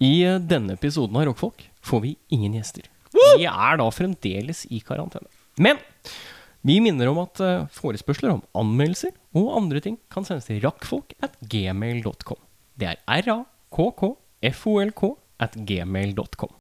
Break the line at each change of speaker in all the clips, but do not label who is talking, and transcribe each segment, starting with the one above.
I eh, denne episoden av Rockfolk får vi ingen gjester. Vi er da fremdeles i karantene. Men vi minner om at eh, forespørsler om anmeldelser og andre ting kan sendes til rakkfolk at gmail.com. Det er r-a-k-k-f-o-l-k at gmail.com.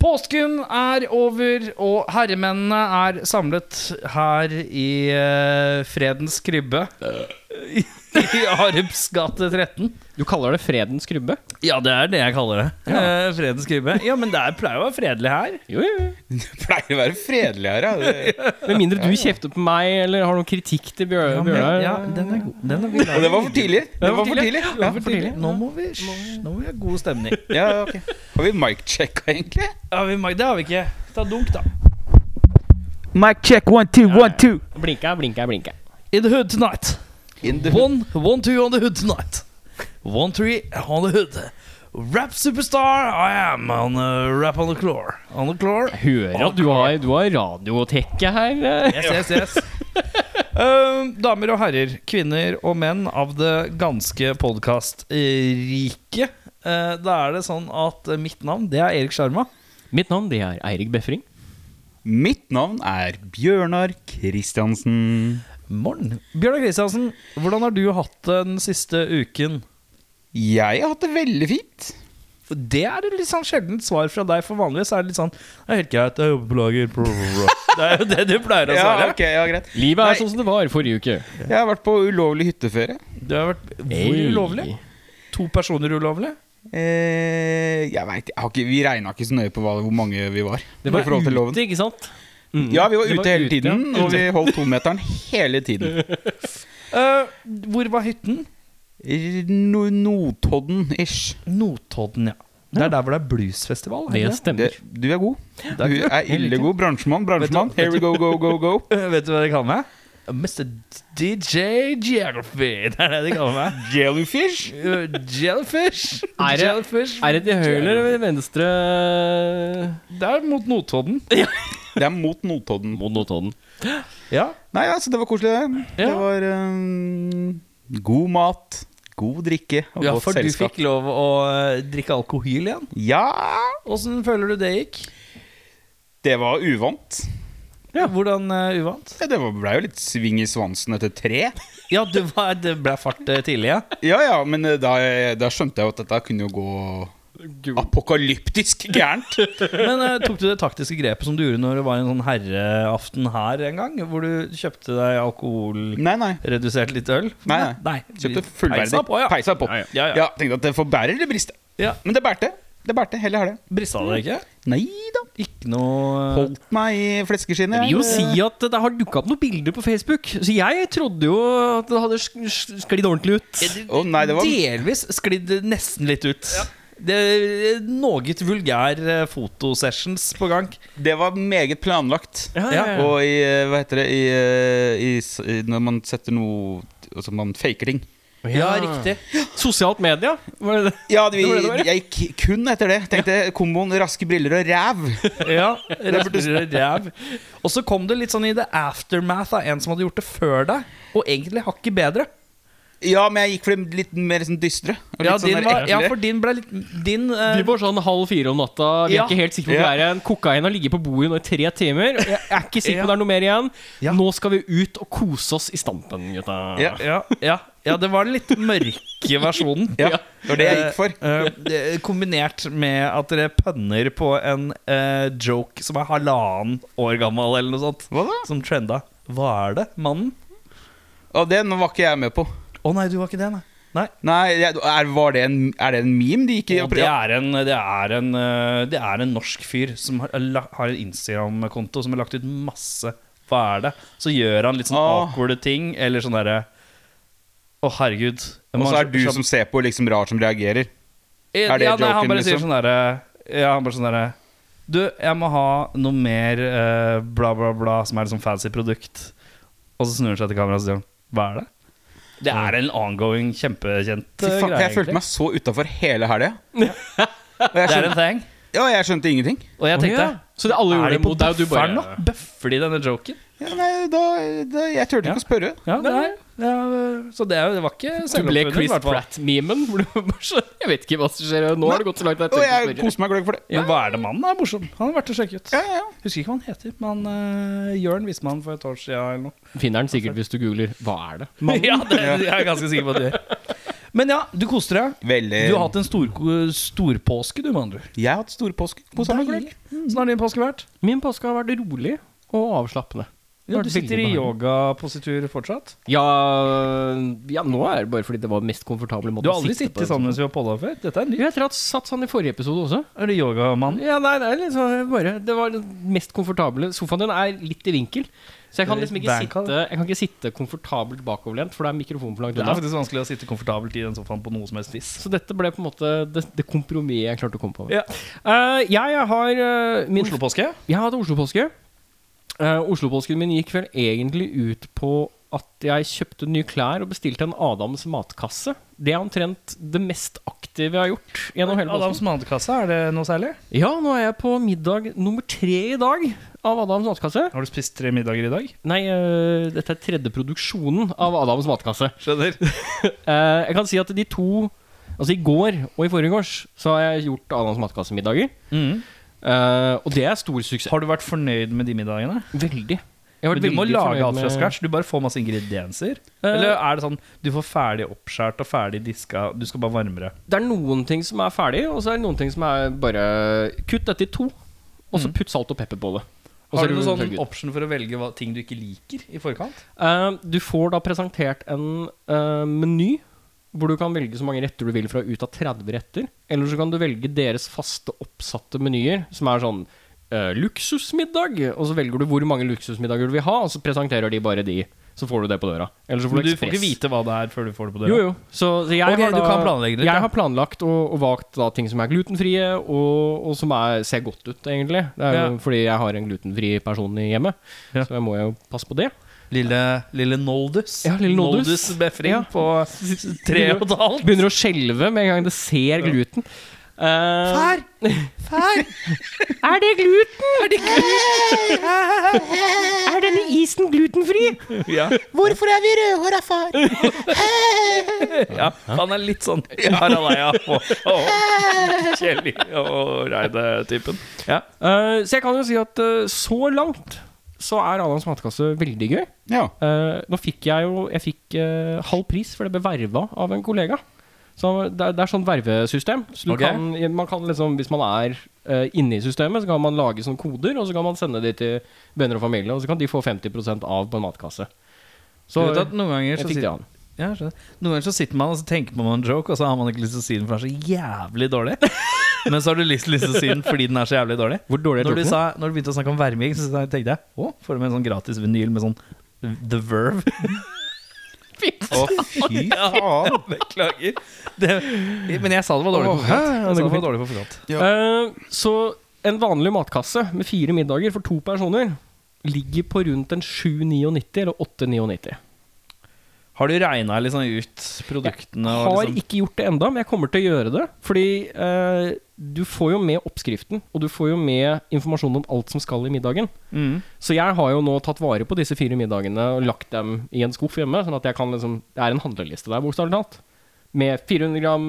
Påsken er over, og herremennene er samlet her i eh, Fredens krybbe. I, I Arups gate 13.
Du kaller det fredens krybbe?
Ja, det er det jeg kaller det. Eh, Fredens krybbe. Ja, men det er- pleier å være fredelig her.
Jo, jo, jo.
Det pleier å være fredelig her, ja. Det,
Med mindre du kjefter på meg eller har noen kritikk til Bjør Bjørnar.
Ja, den er god. Den er vi glad i.
det var for tidlig. Det var for tidlig.
Ja, for tidlig. Nå må vi hysj, Nå må vi ha god stemning.
Ja, ok. Har vi mic-checka, egentlig?
Ja, vi, det har vi ikke. Ta dunk, da.
Mic check one two one two.
Blinker, blinker, blinker.
In the hood tonight.
In the
One, one, two on the hood tonight. One, three on the hood. Rap superstar I am on the rap on the floor. On the floor.
Hører at du har, du har radiotekke her. eh.
Yes, yes, yes. Um, damer og herrer, kvinner og menn av det ganske podkastriket. Uh, da er det sånn at eh, mitt navn, det er Erik Sjarma.
Mitt navn det er Eirik Befring.
Mitt navn er Bjørnar Kristiansen.
Morn. Bjørnar Kristiansen, hvordan har du hatt det den siste uken?
Jeg har hatt det veldig fint.
For Det er et litt sånn sjeldent svar fra deg, for vanligvis er det litt sånn Det er helt greit, jeg jobber på lager. bro, bro, bro». Det er jo det du pleier å svare.
ok, ja, greit.
Livet er
Nei.
sånn som det var forrige uke.
Jeg har vært på ulovlig hytteferie.
Du har vært hvor
Hey.
ulovlig? To personer ulovlig?
Eh, jeg vet, jeg har ikke, Vi regna ikke så nøye på hva, hvor mange vi var.
Det var
i forhold til loven.
ute, ikke sant?
Ja, vi var
Det
ute
var
hele
ute,
tiden,
ja.
og vi holdt tometeren hele tiden.
Eh, hvor var hytten?
No- Notodden-ish.
Notodden, ja. Det er der hvor det er bluesfestival. er
Det
ikke det?
stemmer.
Det- Du er god. Du er ille god. Bransjemann,
du-
bransjemann. Here we go, go, go, go.
Eh, vet du hva de kaller meg? Mr. DJ Geography. Det er det de kaller meg.
Jellyfish?
Eh, Jellyfish.
Er det-
Jellyfish.
Er det til høyre eller venstre
Det er mot Notodden.
Det er mot Notodden.
mot Notodden?
Ja.
Nei, altså, det var koselig, det. Det
Ja.
var øhm, god mat, god drikke og
ja,
godt
for du
selskap.
fikk lov å eh, drikke alkohol igjen.
Ja,
Åssen føler du det gikk?
det var uvant.
Hvordan eh, uvant?
Ja, Det var- ble jo litt sving i svansen etter tre.
Ja, det, var, det ble fart eh, tidlig, ja.
Ja ja, men eh, da, da skjønte jeg jo at dette kunne jo gå apokalyptisk gærent.
Men eh, tok du det taktiske grepet som du gjorde når det var en sånn herreaften her en gang? Hvor du kjøpte deg alkoholredusert
Nei, nei.
litt øl?
Nei,
nei.
Kjøpte
Peisa
fullverdig.
på, ja.
Peisa på.
Ja, ja.
Ja, tenkte at det får bære eller briste.
Ja.
Men det bærte. Det bærte hele helga.
Brista det ikke?
Nei da.
Ikke noe eh,
Holdt meg i
Jeg
fleskeskinnet.
vil jo si at det har dukka opp noen bilder på Facebook, så jeg trodde jo at det hadde sk- sk- sklidd ordentlig ut.
Å, nei, det var-
Delvis sklidd nesten litt ut. Det er Noe vulgær eh, fotosessions på gang.
Det var meget planlagt.
Ja,
Ja,
ja, ja.
Og i, eh, hva heter det i, eh, i, s- i, Når man setter noe Altså man faker ting.
Ja, riktig.
Sosialt media, var det det?
Ja, det,
var det det var,
jeg gikk kun etter det. Tenkte komboen raske briller og ræv.
Ja, raspere ræv. Og så kom det litt sånn i the aftermath av en som hadde gjort det før deg, og egentlig hakket bedre.
Ja, men jeg gikk for de litt mer sånn dystre. og
Ja,
litt sånn
din
der
var, ja,
ekle.
for din ble litt Din eh,
Vi var sånn halv fire om natta. Vi er
Ja.
ikke helt sikre på hvor
Ja.
det er igjen. Kokain har ligget på bordet nå i tre timer. Jeg er ikke sikker på om
Ja.
det er noe mer igjen.
Ja.
Nå skal vi ut og kose oss i stampen, gutta.
Ja.
ja, ja, ja, det var den litt mørke versjonen.
ja, det var det jeg gikk for.
Eh, eh, det- kombinert med at dere pønner på en eh, joke som er halvannen år gammel, eller noe sånt.
Hva da?
Som trenda. Hva er det, mannen?
Og den var ikke jeg med på.
Å nei, du var ikke det, nei. nei.
Nei, jeg- er, var det en, er det en meme de gikk i?
Og det er, en, det, er en, eh, det er en norsk fyr som har, la- har en Instagram-konto som har lagt ut masse Hva er det? Så gjør han litt sånn
Ah.
awkwarde ting, eller sånn derre Å, herregud.
Og så er du som ser på, liksom rar som reagerer.
Er Eh,
det
ja, nei,
joken,
Han bare sier
liksom?
sånn derre Ja, han bare sånn derre Du, jeg må ha noe mer eh, bla, bla, bla, som er liksom fancy produkt. Og så snur han seg til kameraet og sier han, Hva er det? Det er en ongoing, kjempekjent
Fy
eh,
faen,
greie.
jeg
egentlig.
følte meg så utafor hele helga. Og jeg
Det er en
skjønte,
thing.
ja, jeg skjønte ingenting.
Og jeg tenkte
Å, ja. Så det alle
Er
gjorde
de på
mot deg, og du
bøfferen nå?
bare
Bøffer de denne joken?
Ja, nei, da, da, jeg turte
Ja.
ikke å spørre.
Ja, det er, det er, så det, er, det var ikke
Du ble
selvoppfunnet, i
Chris
hvert fall.
Pratt-memen. hvor du bare så- Jeg vet ikke hva som skjer. Nå har det gått så langt. at
Og
Jeg
jeg
tenker på det.
koser meg gløgg for det.
Men hva er det mannen er morsom? Han er verdt å sjekke ut.
Ja, ja, ja.
Husker ikke hva han heter, men uh, Jørn viste meg han for et år siden eller noe.
Finner den sikkert hvis du googler 'hva er det'?
ja, det jeg er jeg ganske sikker på at du gjør. Men ja, du koser deg.
Veldig
Du har hatt en stor, storpåske, du, med andre ord.
Jeg har hatt store påske. Kosa meg gløgg.
Deilig. Mm. Hvordan har din påske vært?
Min påske har vært rolig og avslappende. Det
Ja,
har
du
vært
sitter i
veldig behagelig.
yogapositur fortsatt?
Ja, ja, nå er det bare fordi det var mens komfortable måten
Du har aldri
å sitte på
sittet
en
sammen
sånn-
mens vi har podda før? Dette er
Jo,
nytt.
jeg tror jeg har satt sånn i forrige episode også.
Er du yogamann?
Ja, nei, det er liksom jeg bare Det var den mest komfortable. Sofaen din er litt i vinkel, så jeg kan liksom ikke
Bank,
sitte Jeg kan ikke sitte komfortabelt bakoverlent, for det er mikrofonen for langt
Det er
unna.
faktisk vanskelig å sitte komfortabelt i den sofaen på noe som helst vis.
Så dette ble på en måte det, det kompromisset jeg klarte å komme på.
Ja.
Eh, jeg har eh, min
Oslo-påske?
Jeg hadde Oslo-påske. Eh, Oslo-påsken min gikk vel egentlig ut på at jeg kjøpte nye klær og bestilte en Adams matkasse. Det er omtrent det mest aktive jeg har gjort gjennom hele
Adams
påsken.
matkasse, er det noe særlig?
Ja, nå er jeg på middag nummer tre i dag av Adams matkasse.
Har du spist tre middager i dag?
Nei, eh, dette er tredje produksjonen av Adams matkasse.
Skjønner.
Eh, jeg kan si at de to Altså i går og i forgårs så har jeg gjort Adams matkassemiddager. Eh, og det er stor suksess.
Mm. Har du vært fornøyd med de middagene?
Veldig. Jeg har vært
Men du må
veldig
lage
fornøyd
alt fra
med-
scratch. Du bare får masse ingredienser.
Eh.
Eller er det sånn du får ferdig oppskåret og ferdig diska, du skal bare varme det?
det er noen ting som er ferdig, og så er det noen ting som er bare Kutt dette i to, og så putt salt og pepper på det. Og så
Mm. Har
er
du
det
noen
tørrgutt.
sånn option for å velge hva, ting du ikke liker i forkant?
Eh, du får da presentert en eh, meny hvor du kan velge så mange retter du vil fra ut av 30 retter. Eller så kan du velge deres faste oppsatte menyer, som er sånn eh, luksusmiddag. Og så velger du hvor mange luksusmiddager du vil ha, og så presenterer de bare de. Så får du det på døra. Eller så får
Men
du
du får
ekspress.
ikke vite hva det er før du får det
Jo,
på døra.
jo. Så, så jeg,
Ok,
har da,
du kan planlegge litt,
jeg
ja.
har planlagt og, og valgt da, ting som er glutenfrie, og, og som er, ser godt ut, egentlig. Det er jo
Ja.
fordi jeg har en glutenfri person i hjemmet,
Ja.
så jeg må jo passe på det.
Lille, lille Noldus.
Ja, lille Noldus.
Befring
Ja.
på tre og et halvt.
Begynner å skjelve med en gang det ser gluten. Eh,
Far! Far!
er det gluten? Er, denne isen glutenfri?
Ja.
Hvorfor er vi rødhåra, far?
ja, han er litt sånn Harald Eia og, og Kjell og Reide-typen. Ja.
Eh, så jeg kan jo si at eh, så langt så er Adams matkasse veldig gøy.
Ja.
Eh, nå fikk jeg jo Jeg fikk eh, halv pris, for det ble verva av en kollega. Så det er, det er sånn vervesystem. Så du
Ok.
kan, man kan liksom, hvis man er eh, inne i systemet, så kan man lage sånne koder, og så kan man sende de til venner og familie, og så kan de få 50 av på en matkasse.
Du
Så
vet at noen ganger
jeg
så
fikk det
sitter,
an.
ja, jeg skjønner. noen ganger så sitter man og så tenker man på en joke, og så har man ikke lyst til å si den, for den er så jævlig dårlig. Men så har du lyst, lyst til å si den fordi den er så jævlig dårlig.
Hvor dårlig er
Når du,
joken?
sa, når du begynte å snakke om verming, så tenkte jeg å, får du med en sånn gratis vinyl med sånn The Verve?
Å, fy faen.
Beklager. Det, men jeg sa det var dårlig på
Åh,
forkant.
hæ? Ja, det
Jeg sa
går
det var dårlig på forkant.
Eh, så en vanlig matkasse med fire middager for to personer ligger på rundt en 7,99 eller 8,99.
Har du regna liksom ut produktene?
Jeg
og
har
liksom,
ikke gjort det enda, men jeg kommer til å gjøre det. Fordi eh, du får jo med oppskriften, og du får jo med informasjon om alt som skal i middagen.
mm.
Så jeg har jo nå tatt vare på disse fire middagene og lagt dem i en skuff hjemme. Sånn at jeg kan liksom Det er en handleliste der, bokstavelig talt. Med 400 gram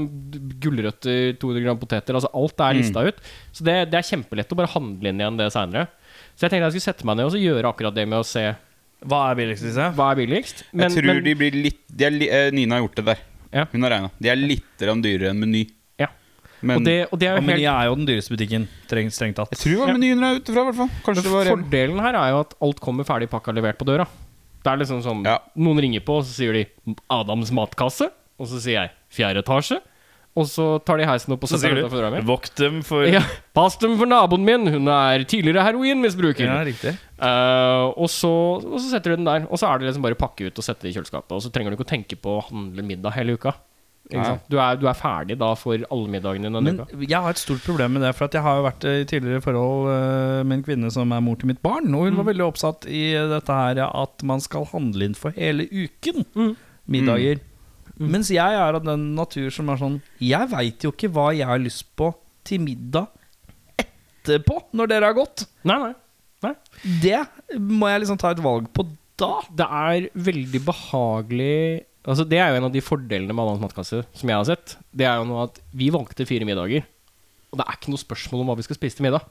gulrøtter, 200 gram poteter. Altså alt
Mm.
er lista ut. Så det, det er kjempelett å bare handle inn igjen det seinere. Så jeg tenkte jeg skulle sette meg ned og så gjøre akkurat det med å se
Hva er billigst, liksom?
hva er billigst.
Jeg tror de blir litt de er, li- eh, Nina har gjort det der.
Ja.
Hun har regna. De er litt grann dyrere enn Meny.
Ja.
Men
og, det, og det er
Ja,
jo
men
helt
jeg er jo den dyreste butikken, trengt, strengt tatt.
jeg tror det var
Ja.
Meny hun er ute fra, i hvert fall. Kanskje det var
Men fordelen her er jo at alt kommer ferdig pakka levert på døra. Det er liksom sånn
Ja.
Noen ringer på, og så sier de 'Adams matkasse', og så sier jeg 'fjerde etasje', og så tar de heisen opp og
Så
setter
sier
den utenfor døra
du
mi.
vokt dem for
Ja, Pass dem for naboen min, hun er tidligere heroinmisbruker.
Ja, riktig.
Eh, og, så, og så setter du den der, og så er det liksom bare å pakke ut og sette i kjøleskapet. Og så trenger du ikke å tenke på å handle middag hele uka. Ikke sant? Du, er, du er ferdig da for allmiddagen din denne
Men
uka.
jeg har et stort problem med det. For at jeg har jo vært i tidligere forhold eh, med en kvinne som er mor til mitt barn. Og hun var veldig oppsatt i eh, dette her at man skal handle inn for hele uken. Middager. Mens jeg er av den natur som er sånn Jeg veit jo ikke hva jeg har lyst på til middag etterpå, når dere har gått.
Nei, nei. nei.
Det må jeg liksom ta et valg på da.
Det er veldig behagelig Altså Det er jo en av de fordelene med Annans matkasse som jeg har sett. Det er jo noe at vi valgte fire middager, og det er ikke noe spørsmål om hva vi skal spise til middag.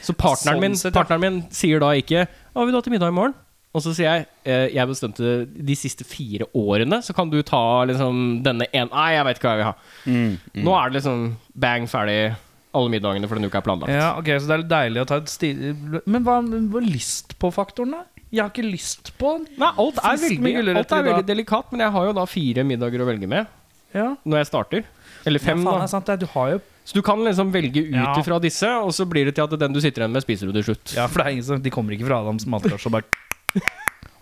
Så partneren,
Sånn
min,
sett, ja.
partneren min sier da ikke 'Hva vil du ha til middag i morgen?' Og så sier jeg eh, 'Jeg bestemte de siste fire årene, så kan du ta liksom denne en Nei, jeg veit ikke hva jeg vil ha.
Mm,
Nå er det liksom bang ferdig. Alle middagene for denne uka er planlagt.
Ja, ok, Så det er litt deilig å ta et sti... Men hva med lyst på-faktoren, da? Jeg har ikke lyst på den.
Nei, alt er,
Fisk med
veldig, alt
gulrøtter
er
i dag.
veldig delikat, men jeg har jo da fire middager å velge med.
Ja.
når jeg starter. Eller fem,
ja, faen,
da.
det er sant, det er- du har jo
Så du kan liksom velge ut
Ja.
ifra disse, og så blir det til at den du sitter igjen med, spiser du til slutt.
Ja, for det er ingen som, de kommer ikke fra Adams matkasje og bare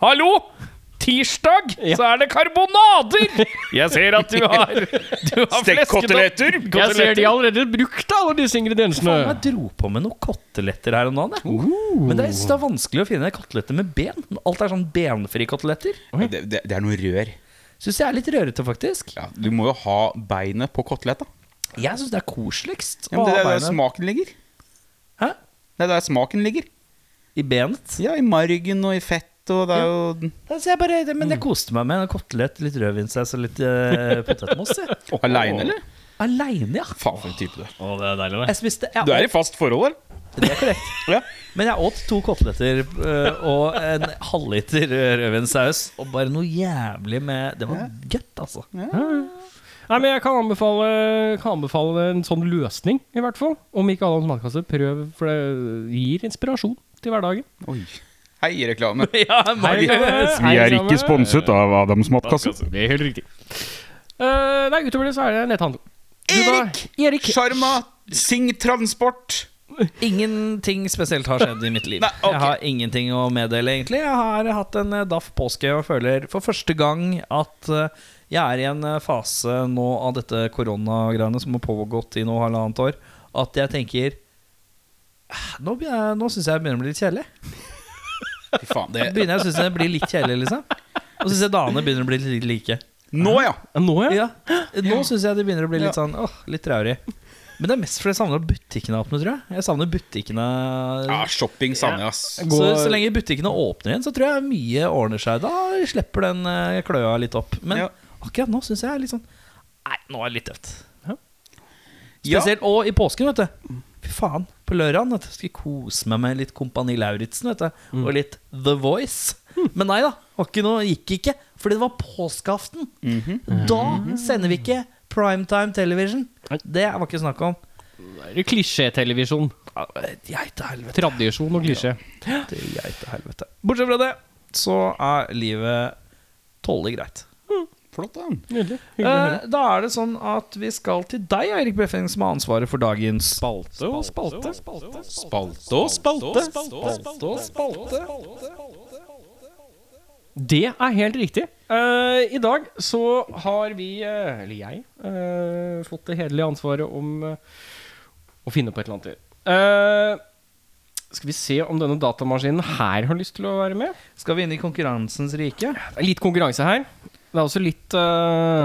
Hallo! Tirsdag så er det karbonader! Jeg ser at du har, du har
Stekkkoteletter!
Jeg ser de har allerede brukt alle disse
Faen,
ingrediensene.
jeg dro på med noen koteletter her om dagen. jeg. Men det er, jeg synes det er vanskelig å finne koteletter med ben. Alt er sånn benfrie koteletter.
Ja, Det, det, det er noe rør.
Syns jeg er litt rørete, faktisk.
Ja, du må jo ha beinet på koteletta.
Jeg syns det er koseligst
Ja, men
å
det
ha
er der
beinet
smaken ligger.
Hæ?
Det er der smaken ligger.
i benet.
Ja, i margen og i fett, og det er jo
Altså, jeg bare, men jeg koste meg med en kotelett, litt rødvinssaus og litt eh, potetmos. jeg.
Aleine, eller?
Aleine, ja.
Faen, for en type du er.
Å, det er deilig, Jeg spiste, jeg
Du er i fast forhold, eller?
Det er korrekt.
Ja.
Men jeg åt to koteletter øh, og en halvliter øh, rødvinssaus. Og bare noe jævlig med Det var godt, altså.
Nei, men jeg kan anbefale, kan anbefale en sånn løsning, i hvert fall. Om ikke Adams matkasse, prøv, for det gir inspirasjon til hverdagen.
Oi. Hei, reklame.
Ja,
Hei, eh, hei, sammen.
av Adams matkasse.
Det er helt riktig. Eh, nei, utover det så er det netthandel. Du da,
Erik!
Erik!
Sjarma, Sing Transport.
Ingenting spesielt har skjedd i mitt liv.
Nei, ok.
Jeg har ingenting å meddele, egentlig. Jeg har hatt en eh, daff påske og føler for første gang at eh, jeg er i en eh, fase nå av dette koronagreiene som har pågått i nå halvannet år, at jeg tenker "Ah, Nå, begynner jeg- nå syns jeg jeg begynner å bli litt kjedelig.
Fy faen, det
begynner jeg å synes det blir litt kjedelig, liksom. Og syns jeg damene begynner å bli litt like.
Nå, ja.
Nå, ja.
Ja, Nå syns jeg de begynner å bli litt sånn åh, litt traurig. Men det er mest fordi jeg savner butikkene åpne, tror jeg. Jeg savner butikkene
Ja, shopping savner jeg, ass.
så, så lenge butikkene åpner igjen, så tror jeg mye ordner seg. Da slipper den eh, kløa litt opp. Men
Ja.
akkurat nå syns jeg er litt sånn Nei, nå er det litt tøft.
Ja.
Spesielt, Og i påsken, vet du. Fy faen. På lørdagen vet du, skal jeg kose meg med litt Kompani Lauritzen vet du,
Mm.
og litt The Voice. Men nei da. Var ikke noe, gikk ikke. Fordi det var påskeaften.
Mhm.
Da sender vi ikke primetime television.
Nei.
Det var ikke snakk om.
Klisjételevisjon.
Geite helvete.
Tradisjon og klisjé.
Geite helvete. Bortsett fra det, så er livet tålelig greit.
Flott, da.
Nydelig.
Eh,
Hyggelig å høre.
da er det sånn at vi skal til deg, Eirik Befring, som har ansvaret for dagens
Spalte og spalte.
Spalte og spalte. Spalte og spalte.
Det er helt riktig. Eh, I dag så har vi, eh, eller jeg, eh, fått det hederlige ansvaret om eh, å finne på et eller annet. Eh, skal vi se om denne datamaskinen her har lyst til å være med.
Skal vi inn i konkurransens rike?
Det er litt konkurranse her. Det er også litt eh,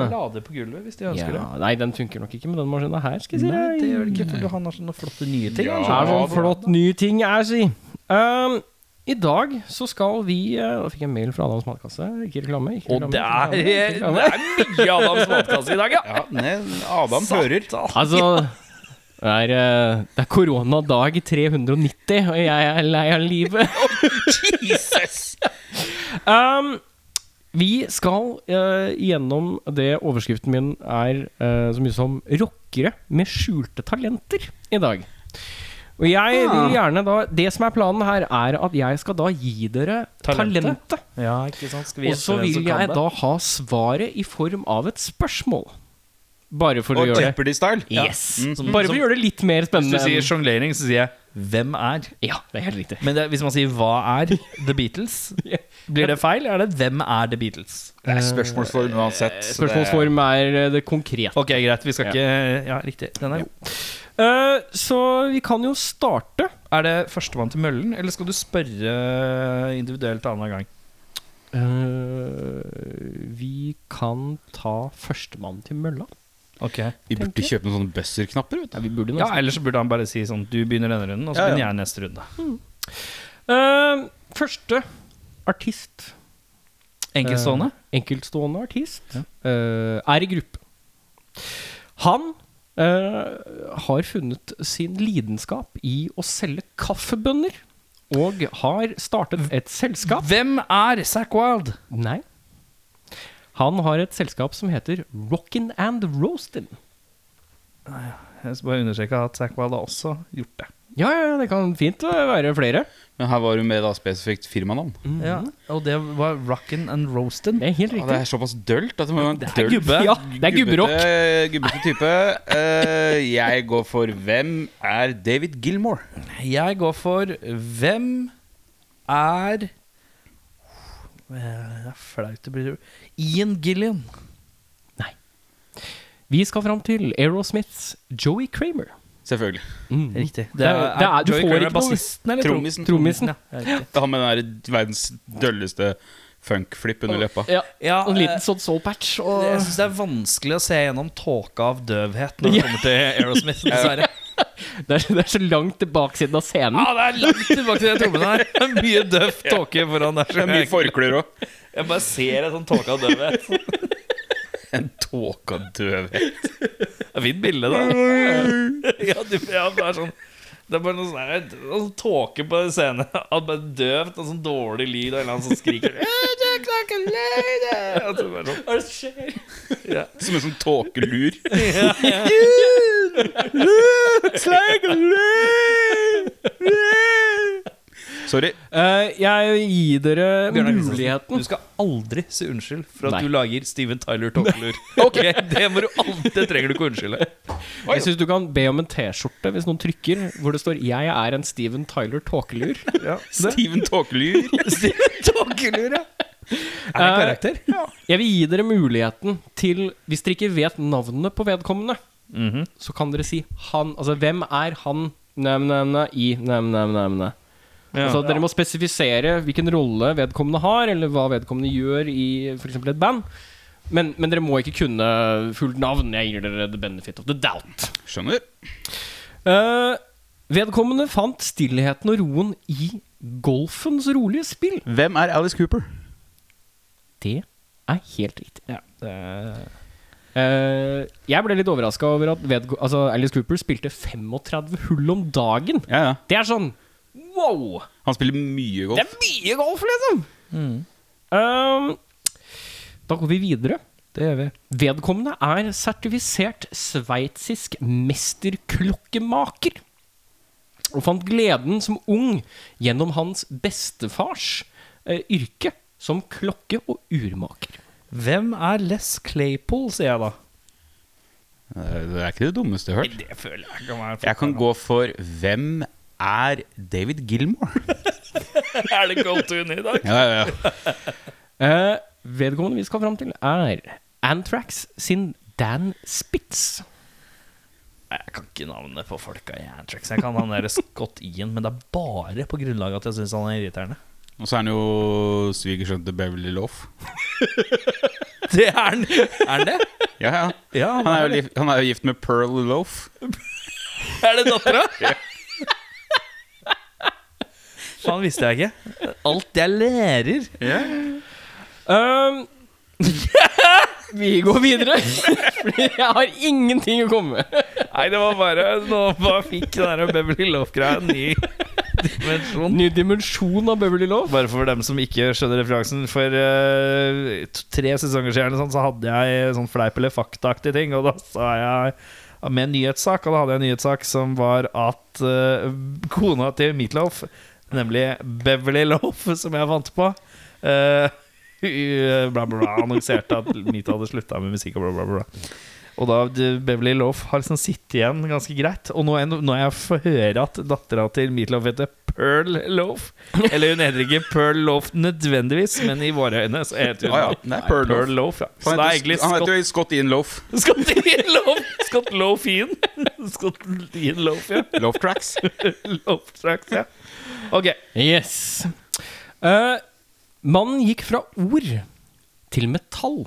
Lade på gulvet hvis de ønsker det.
ja, Nei, den funker nok ikke med den maskinen her, skal jeg si
Nei,
deg.
det gjør det ikke, for han har sånne flotte nye ting.
Ja.
han,
Det er
skjønner
sånn
du.
flott ny ting er, si. Um, I dag så skal vi eh, Nå fikk jeg mail fra Adams matkasse. Ikke reklame. Ikke
Og
reklame
det
ikke
er,
reklame, ikke reklame.
det er mye Adams matkasse i dag, ja!
Ja, nei, Adam hører.
Altså det er, eh, det er koronadag 390, og jeg er lei av livet.
Jesus!
Um, vi skal eh, gjennom det overskriften min er eh, så mye som 'rockere med skjulte talenter' i dag. Og jeg
Ah.
vil gjerne da Det som er planen her, er at jeg skal da gi dere
Talentet.
talentet.
Ja, ikke sant? Skal vi
Og
gjette
så
hvem
vil
som kan
jeg
det?
da ha svaret i form av et spørsmål. Bare for å
Og
gjøre det
Jeopardy-style.
Ja.
Yes.
Mm.
Bare for å gjøre det litt mer
Hvis du
spennende.
sier
enn-
sjonglering, så sier jeg Hvem er?
Ja, det er helt riktig.
Men det, hvis man sier 'Hva er The Beatles', blir det feil? Er det 'Hvem er The Beatles'?
Det er spørsmålsform uansett. så det-
Spørsmålsform er eh, det konkrete.
Ok, greit. Vi skal ikke Ja, riktig. Den er god.
Eh, så vi kan jo starte.
Er det førstemann til møllen, eller skal du spørre individuelt annenhver gang?
Eh, vi kan ta førstemann til mølla.
Ok
Vi burde kjøpe noen sånne buzzer-knapper. vet du.
Ja, vi burde
Ja, Ellers så burde han bare si sånn Du begynner denne runden, og så
Ja, ja.
begynner jeg neste runde.
Eh, første artist.
Enkeltstående?
Eh, enkeltstående artist. Eh, er i gruppe. Han eh, har funnet sin lidenskap i å selge kaffebønner. Og har startet et selskap
Hvem er Zack Wild?
Nei. Han har et selskap som heter Rockin' and Roastin'.
Jeg skal bare understreke at Zack Wild har også gjort det.
Ja, ja, det kan fint være flere.
Men her var du med da spesifikt firmanavn.
Mm.
Mm. Ja, Og det var Rockin' and Roastin'.
Det er helt
Ja, det
riktig.
er såpass dølt at det må være en dølt
gubbe.
Ja, det er gubberock.
gubbete- Gubbete type. Eh, jeg går for hvem er David Gilmore?
Jeg går for Hvem er Det er flaut det blir Ian Gillian.
Vi skal fram til Aerosmiths Joey Kramer. Mm.
Selvfølgelig.
Riktig.
Det er- det er- du
Joey
får
Kramer
ikke noe-
bassisten, eller?
Trommisen.
Trommisen.
Ja, det er riktig.
Det har med den der verdens dølleste funk-flipp under leppa.
Ja,
Ja,
En
eh,
liten sånn soul patch. Og...
Jeg syns det er vanskelig å se gjennom tåka av døvhet når det kommer til Aerosmith, dessverre.
Det, er, det er så langt til baksiden av scenen.
Ja, «Ah, det er langt tilbake til de trommene her. Det er mye døv tåke foran der.
Det er mye forklær òg.
Jeg bare ser en sånn tåke av døvhet.
En tåkadøv
Det er fint bilde, da. ja, du, ja, det er sånn Det er bare noe sånn her, noe sånn tåke på scenen. Alt bare døvt og sånn dårlig lyd og en eller annen som skriker Ja, det er bare sånn.
som en sånn tåkelur. Sorry.
Eh, jeg gir dere
Bjørnar Kristiansen,
muligheten.
Du skal aldri si unnskyld for at
Nei.
du lager Steven Tyler tåkelur. okay. Det må du alltid, det trenger du ikke å unnskylde.
Jeg syns du kan be om en T-skjorte hvis noen trykker, hvor det står 'Jeg er en Steven Tyler tåkelur'.
Steven Tåkelur.
Steven Tåkelur, ja. Eh, Er det en karakter?
Jeg vil gi dere muligheten til, hvis dere ikke vet navnet på vedkommende, så kan dere si han Altså, hvem er han nevne-nevne i nevne-nevne? Altså, dere må spesifisere hvilken rolle vedkommende har, eller hva vedkommende gjør i f.eks. et band. Men, men dere må ikke kunne fullt navn. Jeg gir dere the benefit of the doubt.
Skjønner.
Eh, vedkommende fant stillheten og roen i golfens rolige spill.
Hvem er Alice Cooper?
Det er helt riktig.
Ja. Det er-
Eh, jeg ble litt overraska over at vedg altså, Alice Cooper spilte 35 hull om dagen.
Ja, ja.
Det er sånn wow!
Han spiller mye
Det
golf.
er mye golf, liksom! Um, da går vi videre.
Det gjør vi.
Vedkommende er sertifisert sveitsisk mesterklokkemaker. Og fant gleden som ung gjennom hans bestefars eh, yrke som klokke- og urmaker.
Hvem er Les Claypool, sier jeg da.
Eh, Det er ikke det dummeste jeg har hørt.
Det føler jeg kan være
Jeg kan gå for hvem er David Gilmore?
Er det go to-en i dag?
Ja, ja, ja.
Eh, vedkommende vi skal fram til, er Anthrax sin Dan Spitz.
Jeg kan ikke navnet på folka i Antrax. Jeg kan han der Scott Ian, men det er bare på grunnlag av at jeg syns han er irriterende.
Og så er han jo svigersønnen til Beverly Loff.
Det er han! Er han det?
Ja, ja.
Ja,
Han er, jo, lif- han er jo gift med Pearl Loff.
Er det dattera? Faen, visste jeg ikke. Alt jeg lærer.
Um, vi går videre, Fordi jeg har ingenting å komme med.
Nei, det var bare Nå bare fikk den der Beverly Love-greia en ny dimensjon.
Ny dimensjon av Beverly Love.
Bare for dem som ikke skjønner referansen. For eh, t- tre sesonger siden eller sånn, så hadde jeg sånn fleip- eller faktaaktig ting. Og da sa jeg med en nyhetssak, og da hadde jeg en nyhetssak som var at eh, kona til Meatloaf, nemlig Beverly Loaf, som jeg vant på eh, hun, eh, Bla, bla, bla. Annonserte at Meat hadde slutta med musikk og bla, bla, bla. Og da d- Beverly Loaf har liksom sittet igjen ganske greit. Og nå er- når jeg får høre at dattera til Meatloaf heter Pearl Loaf Eller hun heter ikke Pearl Loaf nødvendigvis, men i våre øyne så heter hun
Ja, ja, det er Pearl Loaf.
Loaf. ja. Så
Han
det er
heter,
egentlig
han
Scott
heter jo Scott Ian Loaf.
Scott Ian Loaf. Scott Loafin. Scott Ian Loaf, ja.
Loaf Tracks.
Loaf tracks, ja. Ok.
Yes. Eh, mannen gikk fra ord til metall,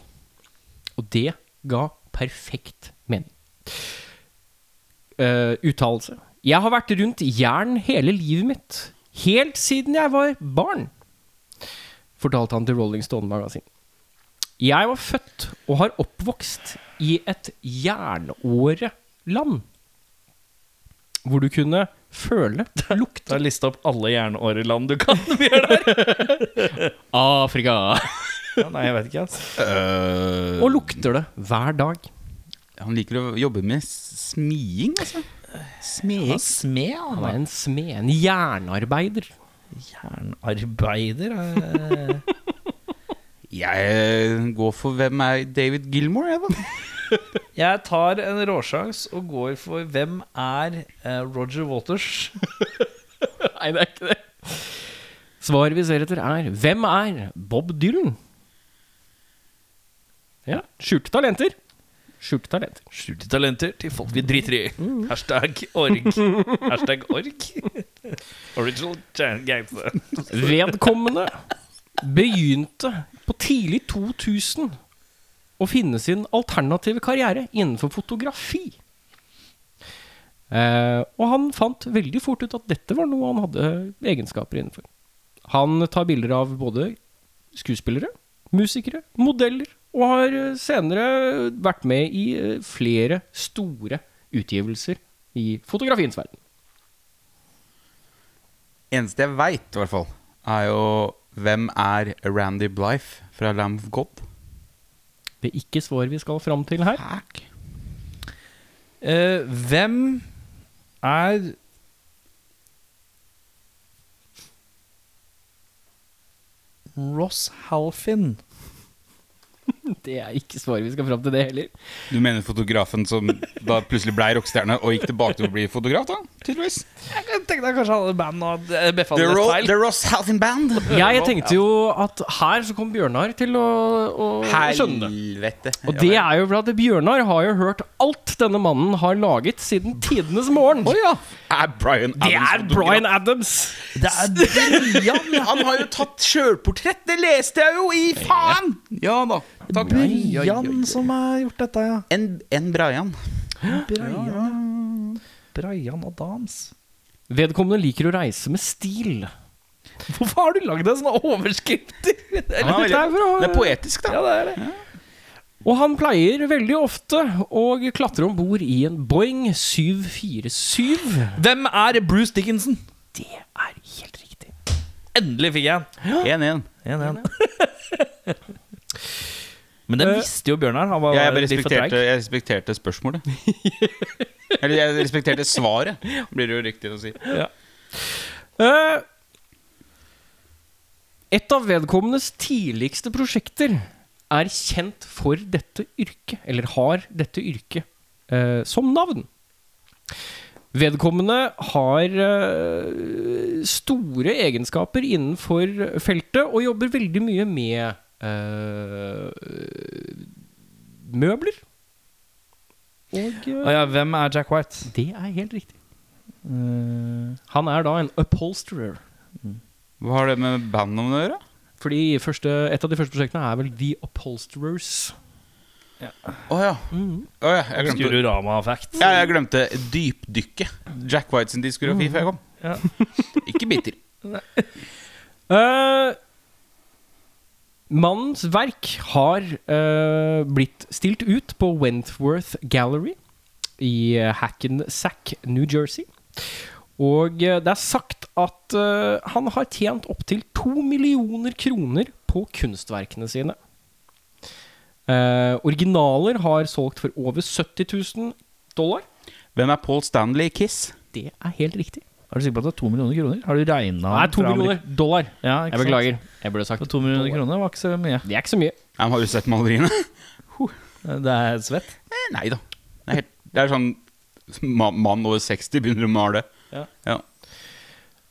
og det ga perfekt mening. Eh, uttalelse. Jeg har vært rundt jern hele livet mitt, helt siden jeg var barn, fortalte han til Rolling Stone Magasin. Jeg var født og har oppvokst i et jernåreland, hvor du kunne føle, lukte
Da har jeg lista opp alle jernåreland du kan. Vi gjør det.
Afrika.
Ja, nei, jeg vet ikke, altså.
Øh,
Og lukter det hver dag.
han liker å jobbe med smiing, altså.
Han
Smeing.
er smed, han
Han
er
er en smed, en jernarbeider.
jernarbeider. eh.
Jeg går for hvem er David Gilmore, jeg, da.
Jeg tar en råsjans og går for hvem er eh, Roger Waters?
Nei, det er ikke det. Svaret vi ser etter, er Hvem er Bob Dylan? Ja, skjulte talenter. Skjulte talenter.
Skjulte talenter til folk vi driter i. Hashtag org. Hashtag org. Original gangster.
Vedkommende begynte på tidlig 2000 å finne sin alternative karriere innenfor fotografi. Eh, og han fant veldig fort ut at dette var noe han hadde egenskaper innenfor. Han tar bilder av både skuespillere, musikere, modeller, og har eh, senere vært med i eh, flere store utgivelser i fotografiens verden.
Eneste jeg veit, i hvert fall, er jo hvem er Randy Blythe fra Lamb of God?
Det er ikke svar vi skal fram til her.
Fuck.
Eh, hvem er Ross Halfin.
Det er ikke svaret vi skal fram til det heller.
Du mener fotografen som da plutselig blei rockestjerne og gikk tilbake til å bli fotograf, da? Tydeligvis.
Jeg kan tenke deg kanskje han hadde band og eh, beffa
The,
det
Ro
feil.
The Ross Halfin Band.
Jeg tenkte jo at her så kom Bjørnar til å, å skjønne det.
Helvete.
Og det er jo fordi Bjørnar har jo hørt alt denne mannen har laget siden tidenes morgen.
Er Bryan
Det
Adams
er Bryan Adams!
Det er Brian.
Han har jo tatt sjølportrett! Det leste jeg jo i faen! Ja da. Takk.
Brian som har gjort dette, ja.
En, en Brian.
Brian, ja. Brian Adams.
Vedkommende liker å reise med stil.
Hvorfor har du lagd sånn deg sånne overskrifter?
Han er
dette er
veldig,
for å-
det er poetisk, da.
Ja, det er det.
Og han pleier veldig ofte å klatre om bord i en Boeing 747.
Hvem er Bruce Dickinson?
Det er helt riktig.
Endelig fikk jeg den.
1-1.
En, en. Men den visste jo Bjørnar. Han var
Ja, Eh, jeg,
litt for
respekterte,
treig.
jeg respekterte spørsmålet. Eller jeg respekterte svaret, blir det jo riktig å si.
Eh, Et av vedkommendes tidligste prosjekter er kjent for dette yrket, eller har dette yrket eh, som navn. Vedkommende har eh, store egenskaper innenfor feltet og jobber veldig mye med eh, møbler. Og eh,
Å ja, hvem er Jack White?
det er helt riktig. Han er da en upholsterer.
Hva har det med bandet å gjøre?
Fordi første, et av de første prosjektene er vel The Upholsterers.
Å ja.
Mhm.
Å ja, jeg glemte
Skurorama-fact.
ja, jeg glemte dypdykket. Jack White sin diskografi før jeg kom.
Mhm. Ja.
Ikke bitter.
Eh, mannens verk har eh, blitt stilt ut på Wentworth Gallery i eh, Hackensack, New Jersey. Og eh, det er sagt at eh, han har tjent opptil to millioner kroner på kunstverkene sine. Eh, originaler har solgt for over 70 000 dollar.
Hvem er Paul Stanley i Kiss?
Det er helt riktig.
Er du sikker på at det er to millioner kroner? Har du regna
Nei, to millioner dollar.
Ja,
Jeg
ikke sant?
beklager. Jeg burde sagt
To millioner kroner var ikke så mye.
Det er ikke så mye.
Jeg har jo sett maleriene.
Det er svett.
Eh, Nei da. Det er, helt, det er sånn ma- mann over 60 begynner å male.
Ja.
Ja.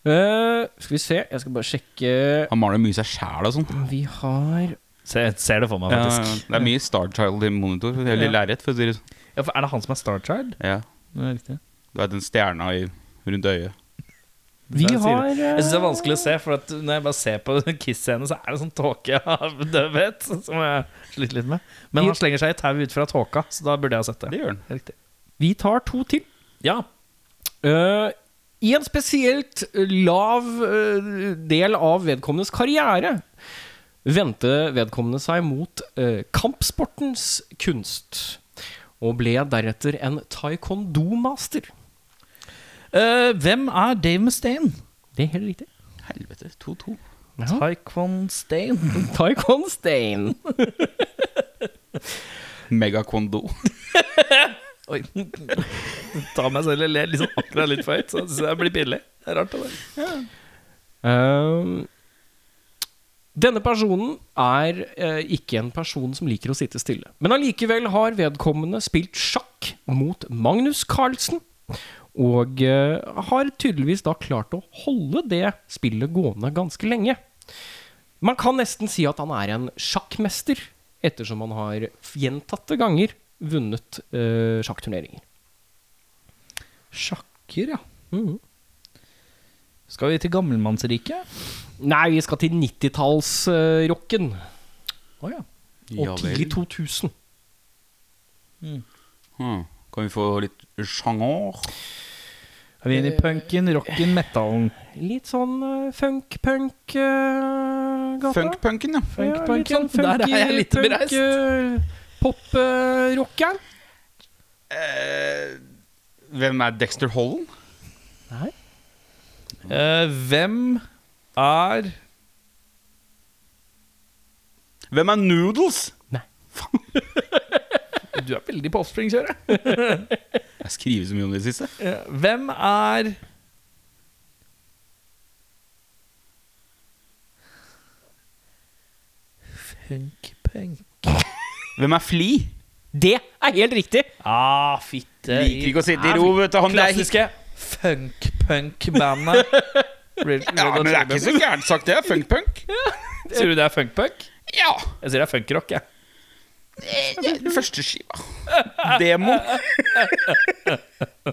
Eh, skal vi se, jeg skal bare sjekke
Han maler mye seg sjæl og sånn.
Vi har
Se, jeg ser det for meg,
Ja,
faktisk.
det er mye Star Child i monitor. Eller
Ja.
lerret, for å si det sånn.
Ja, for er det han som er Star Child?
Ja.
Det er riktig.
Du er den stjerna i, rundt øyet.
Vi
Jeg sier
har
det. Jeg syns det er vanskelig å se, for at når jeg bare ser på Kiss-scenen, så er det sånn tåke av døvhet som jeg sliter litt med. Men han slenger seg i tauet ut fra tåka, så da burde jeg ha sett det.
Det gjør han.
Riktig.
eh, Vi tar to til.
Ja.
Eh, I en spesielt lav eh, del av vedkommendes karriere vendte vedkommende seg mot eh, kampsportens kunst, og ble deretter en taekwondo-master.
Eh, hvem er Dave Mustaine?
Det er helt riktig.
Helvete. 2-2.
Taekwon Stain.
Taekwonstein.
Megakondo.
Oi. Ta meg selv og le liksom akkurat litt for høyt, så jeg synes jeg blir pinlig. Det er rart, det der.
Ehm, denne personen er eh, ikke en person som liker å sitte stille. Men allikevel har vedkommende spilt sjakk mot Magnus Carlsen. Og eh, har tydeligvis da klart å holde det spillet gående ganske lenge. Man kan nesten si at han er en sjakkmester, ettersom han har gjentatte ganger vunnet eh, sjakkturneringer.
Sjakker, ja.
Mhm.
Skal vi til gammelmannsriket?
Nei, vi skal til 90-tallsrocken
Å ja.
og tidlig 2000.
Hmm. Kan vi få litt sjanger?
Er vi inne i punken, rocken, metallen?
Litt sånn eh, funk-punk-gata.
Funkpunken, ja.
Funk-punken.
sånn
Der er jeg litt bereist.
eh, Pop-rockeren.
Eh, hvem er Dexter Holland?
Nei.
Eh, hvem er
Hvem er Noodles?
Du er veldig på offspring-kjøret.
Jeg skriver så mye om det siste.
Eh, Hvem er Funkpunk
Hvem er Fli?
Det er helt riktig!
Ah, fitte
Liker ikke å sitte i ro, vet du. Han der
Klassiske funkpunk-bandet.
Ja, men det er ikke så gærent sagt, det. er Funkpunk.
Sier du det er funkpunk?
Ja.
Jeg sier det er funkrock, jeg.
Første skiva. Demo.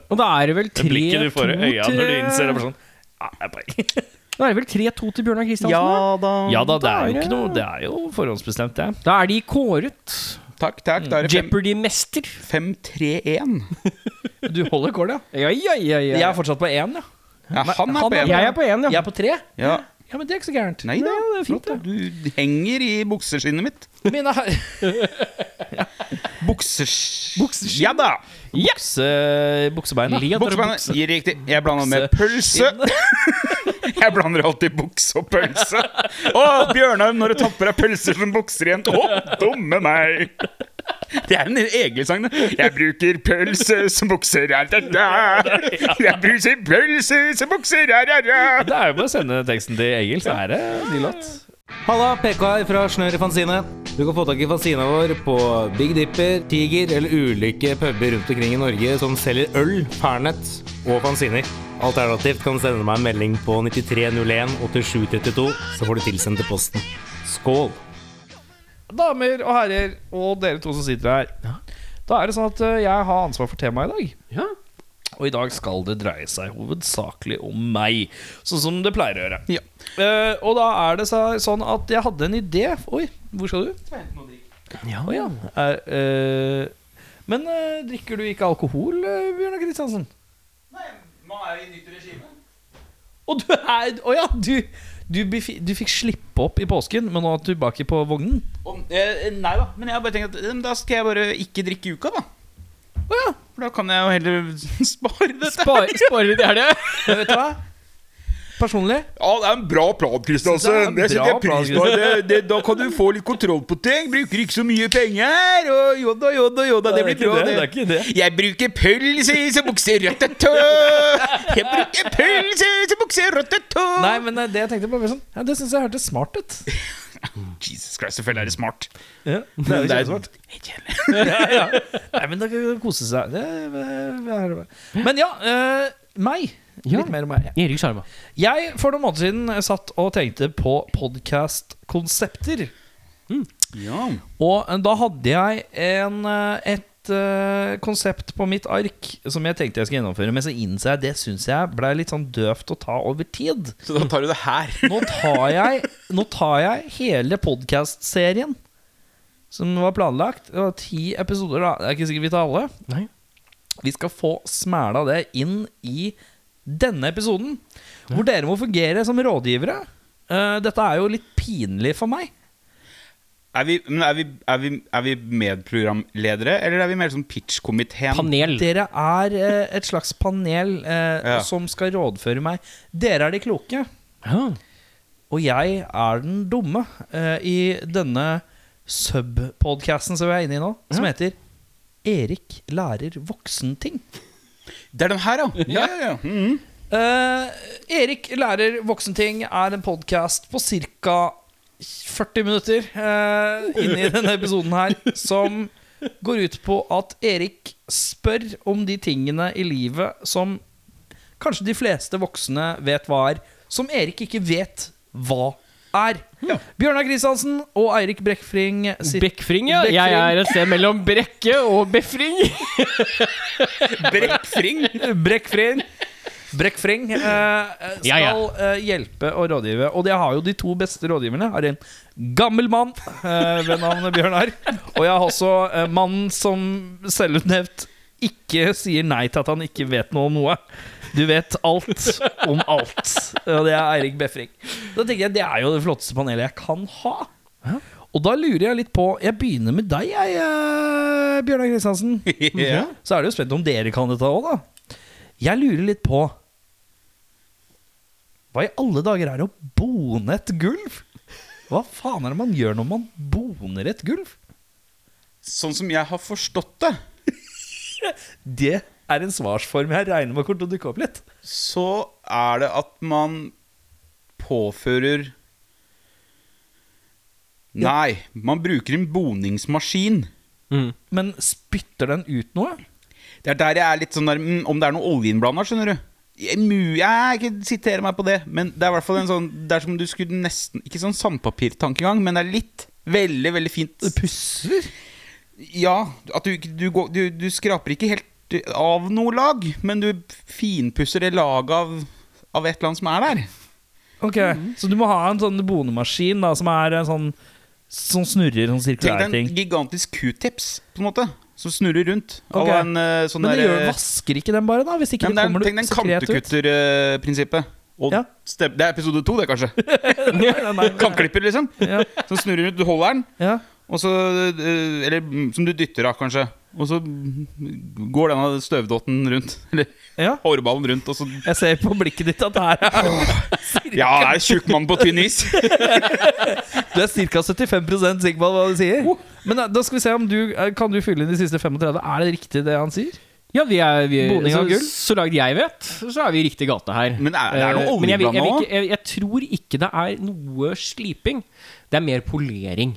Og da er det vel 3-2
Blikket du får i øya
til-
når du innser det. bare sånn ah, jeg bare- altså.
Da er det vel 3-2 til Bjørnar Kristiansen?
da.
Ja da, det er jo ikke noe Det er jo forhåndsbestemt, det.
Da er de kåret
Takk, takk. Da er det
Jeopardy-mester.
5-3-1.
Du holder kål, ja.
Ja, ja, ja,
Jeg
ja.
er fortsatt på én, ja.
Ja, han er på en.
Jeg er på én,
Jeg
ja.
er på tre.
Ja.
Ja, men det er ikke så gærent.
Nei da.
det er fint,
flott, Du henger i bukseskinnet mitt.
Mine her
Buksers...
Bukseskinn.
Ja da.
Bukse, buksebeina.
Leder
Buksebeinet.
bukse.
Gir Riktig. Jeg blander med pølse. Jeg blander alltid bukse og pølse. Å, Bjørnar, når du tar på deg pølser som bukser igjen Å, dumme meg! Det er en egen sang, det. Jeg bruker pølse som bukser er det der. Jeg bruker pølse som bukser er det der.
Det er jo bare å sende teksten til Egil, så er det ny låt.
Halla, PK her fra Snør i Fanzine. Du kan få tak i fanzina vår på Big Dipper, Tiger eller ulike puber rundt omkring i Norge som selger øl, pernett og fanziner. Alternativt kan du sende meg en melding på 9301 8732, så får du tilsendt til posten. Skål!
Damer og herrer, og dere to som sitter her. Da er det sånn at eh, jeg har ansvar for temaet i dag.
Ja.
Og i dag skal det dreie seg hovedsakelig om meg, sånn som det pleier å gjøre.
Ja.
Eh, og da er det så- sånn at jeg hadde en idé Oi, hvor skal du? Ja, ja. Er, eh, men eh, drikker du ikke alkohol, eh, Bjørnar Kristiansen? Og du er Å ja, du, du, befi- du fikk slippe opp i påsken, men nå er du tilbake på vognen?
eh, Nei da, men jeg bare tenker at da skal jeg bare ikke drikke i uka, da. For da kan jeg jo heller spare dette.
Spar- Sparer de det her, det?
Men vet du hva? Personlig
Ja, det er en bra plan,
Synes
Kristiansen.
det er en
Jeg setter
bra
pris på
plan,
det. det. Da kan du få litt kontroll på ting. Bruker ikke så mye penger. Og joda, joda, joda. Det
er
blir
ikke
bra,
det,
det.
det er ikke det.
Jeg bruker pølse som bukser røttetå. Jeg bruker pølse som bukser røttetå.
Nei, men eh, det jeg tenkte på var sånn, ja, Det syns jeg hørtes smart ut.
Jesus Christ, selvfølgelig er det smart.
Ja, det er jo kjempesmart. Nei, men da kan man kose seg. Det, det- det er det bare. Men ja, eh, meg.
Ja.
Litt mer om meg.
Erik Sjarma.
Jeg for noen måneder siden eh, satt og tenkte på podkastkonsepter.
Ja.
Og eh, da hadde jeg en, eh, et eh, konsept på mitt ark som jeg tenkte jeg skulle gjennomføre, men så innså jeg det syns jeg ble litt sånn døvt å ta over tid.
Så da tar du det her.
Nå tar jeg, nå tar jeg hele podkast-serien som var planlagt. Det var ti episoder, da. Det er ikke sikkert vi tar alle.
Nei.
Vi skal få smæla det inn i denne episoden, hvor dere må fungere som rådgivere. Eh, dette er jo litt pinlig for meg.
Er vi, men er vi, er vi, er vi medprogramledere, eller er vi mer sånn pitch-komiteen?
Panel.
Dere er eh, et slags panel eh,
Ja.
som skal rådføre meg. Dere er de kloke,
Ja.
og jeg er den dumme eh, i denne sub-podcasten som vi er inne i nå, som heter Erik lærer voksenting.
Det er den her, ja. ja, ja, ja. Mhm.
Eh, Erik lærer voksenting er en podkast på ca. 40 minutter uh, inni denne episoden her, som går ut på at Erik spør om de tingene i livet som kanskje de fleste voksne vet hva er, som Erik ikke vet hva er. Bjørnar Kristiansen og Eirik Brekkfring sitter
Brekkfring, ja. Jeg er et sted mellom brekke og befring.
Brekkfring.
Brekkfring. Brekkfring eh, skal
Ja, ja.
eh, hjelpe og rådgive. Og det har jo de to beste rådgiverne. Har en gammel mann eh, ved navn Bjørnar. Og jeg har også eh, mannen som selvutnevnt ikke sier nei til at han ikke vet noe om noe. Du vet alt om alt. Og det er Eirik Befring. Da tenker jeg Det er jo det flotteste panelet jeg kan ha. Og da lurer jeg litt på Jeg begynner med deg, jeg, eh, Bjørnar Kristiansen.
Ja.
Så er det jo spent om dere kan dette òg, da. Jeg lurer litt på Hva i alle dager er å bone et gulv? Hva faen er det man gjør når man boner et gulv?
Sånn som jeg har forstått det,
Det er en svarsform jeg regner med kommer til å dukke opp litt.
så er det at man påfører Nei, man bruker en boningsmaskin.
Men spytter den ut noe?
Det er der jeg er litt sånn der mm, Om det er noe oljeinnblanda, skjønner du. Jeg, mu- jeg ikke sitere meg på det, men det er i hvert fall en sånn Det er som du skulle nesten Ikke sånn sandpapirtankegang, men det er litt. Veldig, veldig fint.
Pusler?
Ja, at du, ikke- du, går- du, du skraper ikke helt eh, av noe lag, men du finpusser det laget av, av et eller annet som er der.
Ok, Så du må ha en sånn bonemaskin da, som er en sånn som snurrer sånn
Tenk
sirkulær
deg en
ting.
gigantisk q-tips, på en måte, som snurrer rundt. à
Ok.
la en, eh, sånn
Men det
der,
gjør,
eh,
vasker ikke den bare, da? Hvis ikke
ja, men det er,
det kommer
Tenk deg en
sekret ut?
kantekutterprinsippet. Og
Ja.
stem, det er episode to, det, kanskje.
Nei, nei, nei.
Kantklipper, liksom.
Ja,
Som snurrer rundt. Du holder den,
ja.
og så eh, Eller mm, som du dytter av, kanskje. Og så mm, går denne støvdotten rundt. Eller
ja.
hårballen rundt, og så
Jeg ser på blikket ditt at det her er
Ja, det er tjukk mann på tynn is.
Du er ca. 75 sikker på hva du sier. Men eh, da- da skal vi se om du eh, Kan du fylle inn de siste 35. Er det riktig, det han sier?
Ja, vi er, vi,
Boning
så,
av gull?
så langt jeg vet, så er vi i riktig gate her.
Men er- det er noe
Eh, men jeg, vil- jeg,
oljeblanda
vil ikke- jeg, jeg tror ikke det er noe sliping. Det er mer polering.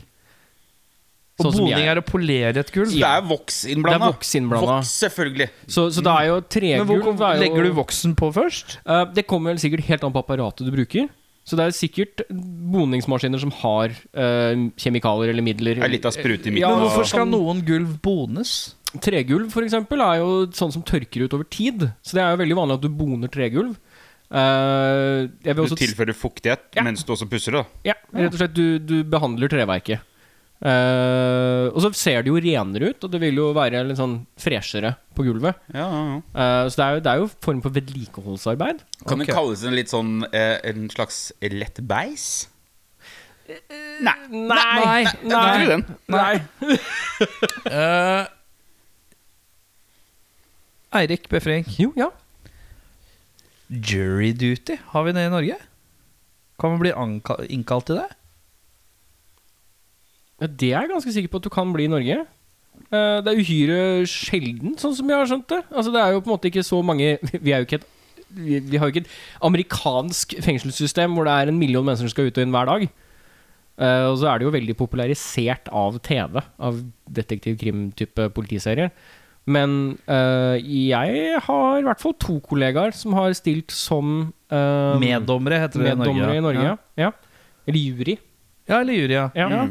Og
Sånn som
boning
jeg-
er å polere et gulv.
Det er voks innblanda.
Det er voks innblanda.
Voks, selvfølgelig.
Så, så det er jo
Men
tregulv
hvor
det er jo-
legger du voksen på først?
Eh, Det kommer vel sikkert helt an på apparatet du bruker. Så det er sikkert boningsmaskiner som har eh, kjemikalier eller midler.
Det er litt av sprut i midten.
Ja,
Men hvorfor
og-
skal noen gulv bones?
Tregulv for eksempel er jo sånn som tørker ut over tid. Så det er jo veldig vanlig at du boner tregulv. Eh, jeg vil
Du
også
tilfører fuktighet
Ja.
mens du også pusser det. da.
Ja, rett og slett. Du, du behandler treverket. Eh, og så ser det jo renere ut, og det vil jo være litt sånn freshere på gulvet.
Ja, ja, ja.
Eh, så det er, jo, det er jo form for vedlikeholdsarbeid.
Kan
Ok.
det kalles en litt sånn eh, En slags lett beis? Nei.
Nei!
Nei.
Nei.
Den.
Nei.
Eh, Eirik Befring,
Jo, ja.
jury duty, har vi det i Norge? Kan man bli anka- innkalt til det?
Ja, Det er jeg ganske sikker på at du kan bli i Norge. Eh, Det er uhyre sjelden, sånn som jeg har skjønt det. Altså Det er jo på en måte ikke så mange Vi er jo ikke et vi, vi har jo ikke et amerikansk fengselssystem hvor det er en million mennesker som skal ut og inn hver dag. Eh, og så er det jo veldig popularisert av TV, av detektiv-krim-type politiserier. Men eh, jeg har i hvert fall to kollegaer som har stilt som eh,
Meddommere heter det
meddommere i Norge.
Ja.
Ja. Eller jury.
ja, eller jury, ja.
Ja.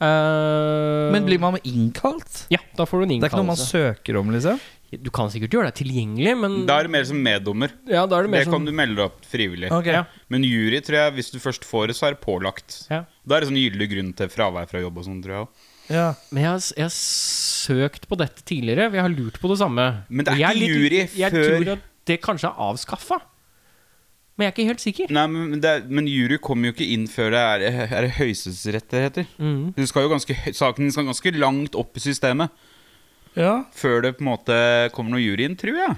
Eh,
Men blir man innkalt?
Ja, da får du en
Det er ikke noe man
innkallelse.
søker om, liksom?
Du kan sikkert gjøre deg tilgjengelig, men
Da er det mer som meddommer.
ja, da er Mm. det
Det
mer
kan
sånn
du melde deg opp frivillig.
Ok.
Ja.
Men jury, tror jeg, hvis du først får det, så er det pålagt.
Ja.
Da er det sånn gyldig grunn til fravær fra jobb og sånn, tror jeg. også.
Ja.
Men jeg har, jeg har søkt på dette tidligere. Vi har lurt på det samme.
Men det er
Og jeg
ikke
litt-
jury
jeg
før-
tror at det kanskje er avskaffa. Men jeg er ikke helt sikker.
Nei, men, det er, men jury kommer jo ikke inn før det er, er det høyesterettsrett det heter.
Mm,
Det skal jo ganske, hø- saken skal ganske langt opp i systemet
ja.
før det på en måte kommer noe jury inn, tror jeg.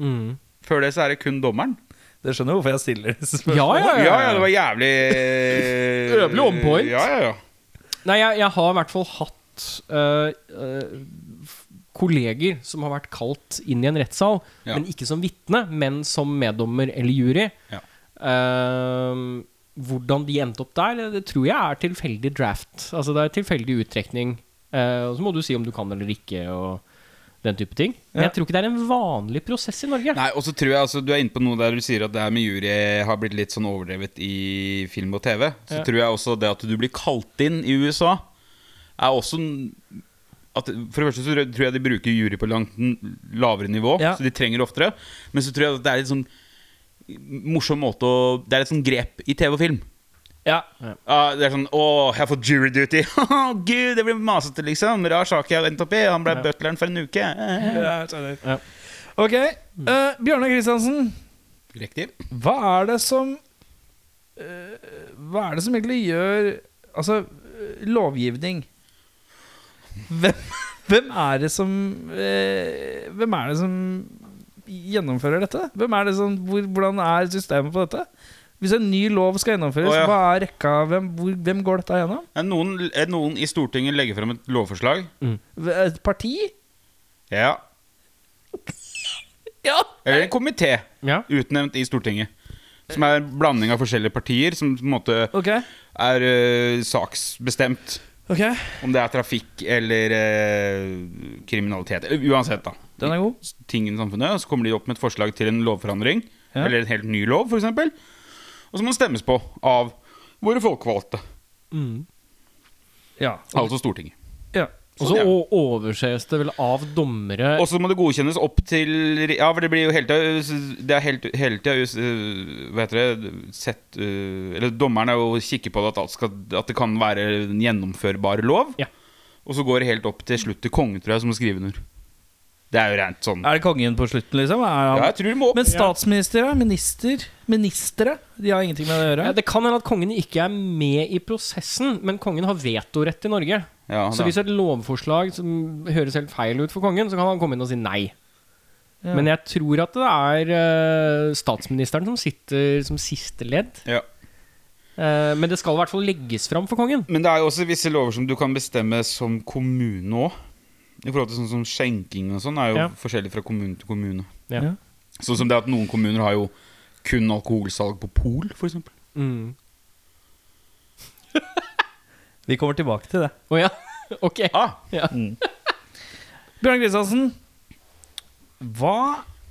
Mm.
Før det så er det kun dommeren.
Dere skjønner hvorfor jeg stiller disse
Ja,
spørsmålene?
ja,
Ja,
ja.
ja, det var jævlig
Øvelig on point.
Ja, ja, ja.
Nei, jeg, jeg har i hvert fall hatt øh, øh, f- kolleger som har vært kalt inn i en rettssal,
Ja.
men ikke som vitne, men som meddommer eller jury.
Ja.
Ehm, hvordan de endte opp der, det tror jeg er tilfeldig draft. Altså det er tilfeldig uttrekning. eh, og så må du si om du kan eller ikke, og den type ting. Men jeg tror ikke det er en vanlig prosess i Norge.
Nei, og så tror jeg altså, Du er inne på noe der du sier at det her med jury har blitt litt sånn overdrevet i film og TV. Så
Ja.
tror jeg også det at du blir kalt inn i USA, er også en- at, For det første så tror jeg de bruker jury på langt n- lavere nivå,
Ja.
så de trenger oftere. Men så tror jeg at det er litt sånn morsom måte å Det er et sånn grep i TV og film.
Ja.
Ja, det er sånn Å, jeg har fått jury duty. Å, Gud, det blir masete, liksom. Rar sak jeg har endt opp i. Han ble butleren for en uke. Eh.
Ja, jeg skjønner.
Ja.
Ok, eh, Bjørnar Kristiansen.
Riktig.
Hva er det som eh, Hva er det som egentlig gjør Altså, eh, lovgivning Hvem, hvem er det som eh, Hvem er det som gjennomfører dette? Hvem er det som, hvor, hvordan er systemet på dette? Hvis en ny lov skal gjennomføres,
Å, ja.
hva er rekka? Hvem, hvor, hvem går dette gjennom?
Er noen, er noen i Stortinget legger frem et lovforslag?
Et parti?
Ja.
Ja!
Eller en komité
Ja.
utnevnt i Stortinget. Som er en blanding av forskjellige partier, som på en måte
Ok.
er eh, saksbestemt.
ok
Om det er trafikk eller eh, kriminalitet. Eh, Uansett, da.
Den er god.
Ting i samfunnet, og Så kommer de opp med et forslag til en lovforandring.
Ja.
Eller en helt ny lov, f.eks. Og så må den stemmes på av våre folkevalgte.
Ja.
Altså Stortinget.
ja.
Og
Sånn,
så o- overses det vel av dommere
Og så må det godkjennes opp til Ja, for det blir jo hele tida eh, Det er helt- hele tida øh, Hva heter det Sett øh, Eller dommeren er jo kikker på det at, alt skal, at det kan være en gjennomførbar lov.
Ja.
Og så går det helt opp til slutt til kongen, tror jeg, som må skrive under. Det er jo rent sånn.
Er det kongen på slutten, liksom? Er han,
Ja, jeg tror det må opp.
Men statsminister, ja, minister, ministre, de har ingenting med det å gjøre.
Ja, det kan hende at kongen ikke er med i prosessen, men kongen har vetorett i Norge.
Ja,
så
da.
hvis et lovforslag som høres helt feil ut for kongen, så kan han komme inn og si nei. Men jeg tror at det er eh, statsministeren som sitter som siste ledd.
Ja.
Eh, men det skal i hvert fall legges fram for kongen.
Men det er jo også visse lover som du kan bestemme som kommune òg. I forhold til sånn som skjenking og sånn er jo
Ja.
forskjellig fra kommune til kommune.
Ja.
Ja.
Sånn som det at noen kommuner har jo kun alkoholsalg på pol, f.eks.
Mm.
Vi kommer tilbake til det.
Å ja. Ok.
Ah,
Bjørn Kristiansen, hva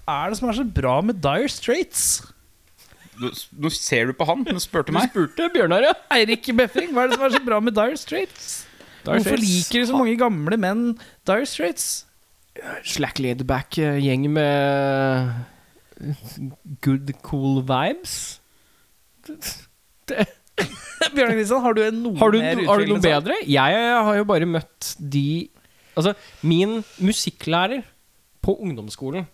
er det som er så bra med Dire Straits?
Nå nå ser du på han, men spurte
Du
meg.
spurte Bjørnar, ja.
Eirik Befring, hva er det som er så bra med Dire Straits?
Dire
Hvorfor
Straits.
liker så mange gamle menn Dire Straits?
Slack laid back eh, gjeng med good cool vibes.
Bjørn Kristiansen, har du en noe
Har du,
mer
har du noe
utfyllende sak?
bedre? Jeg har jo bare møtt de Altså, min musikklærer på ungdomsskolen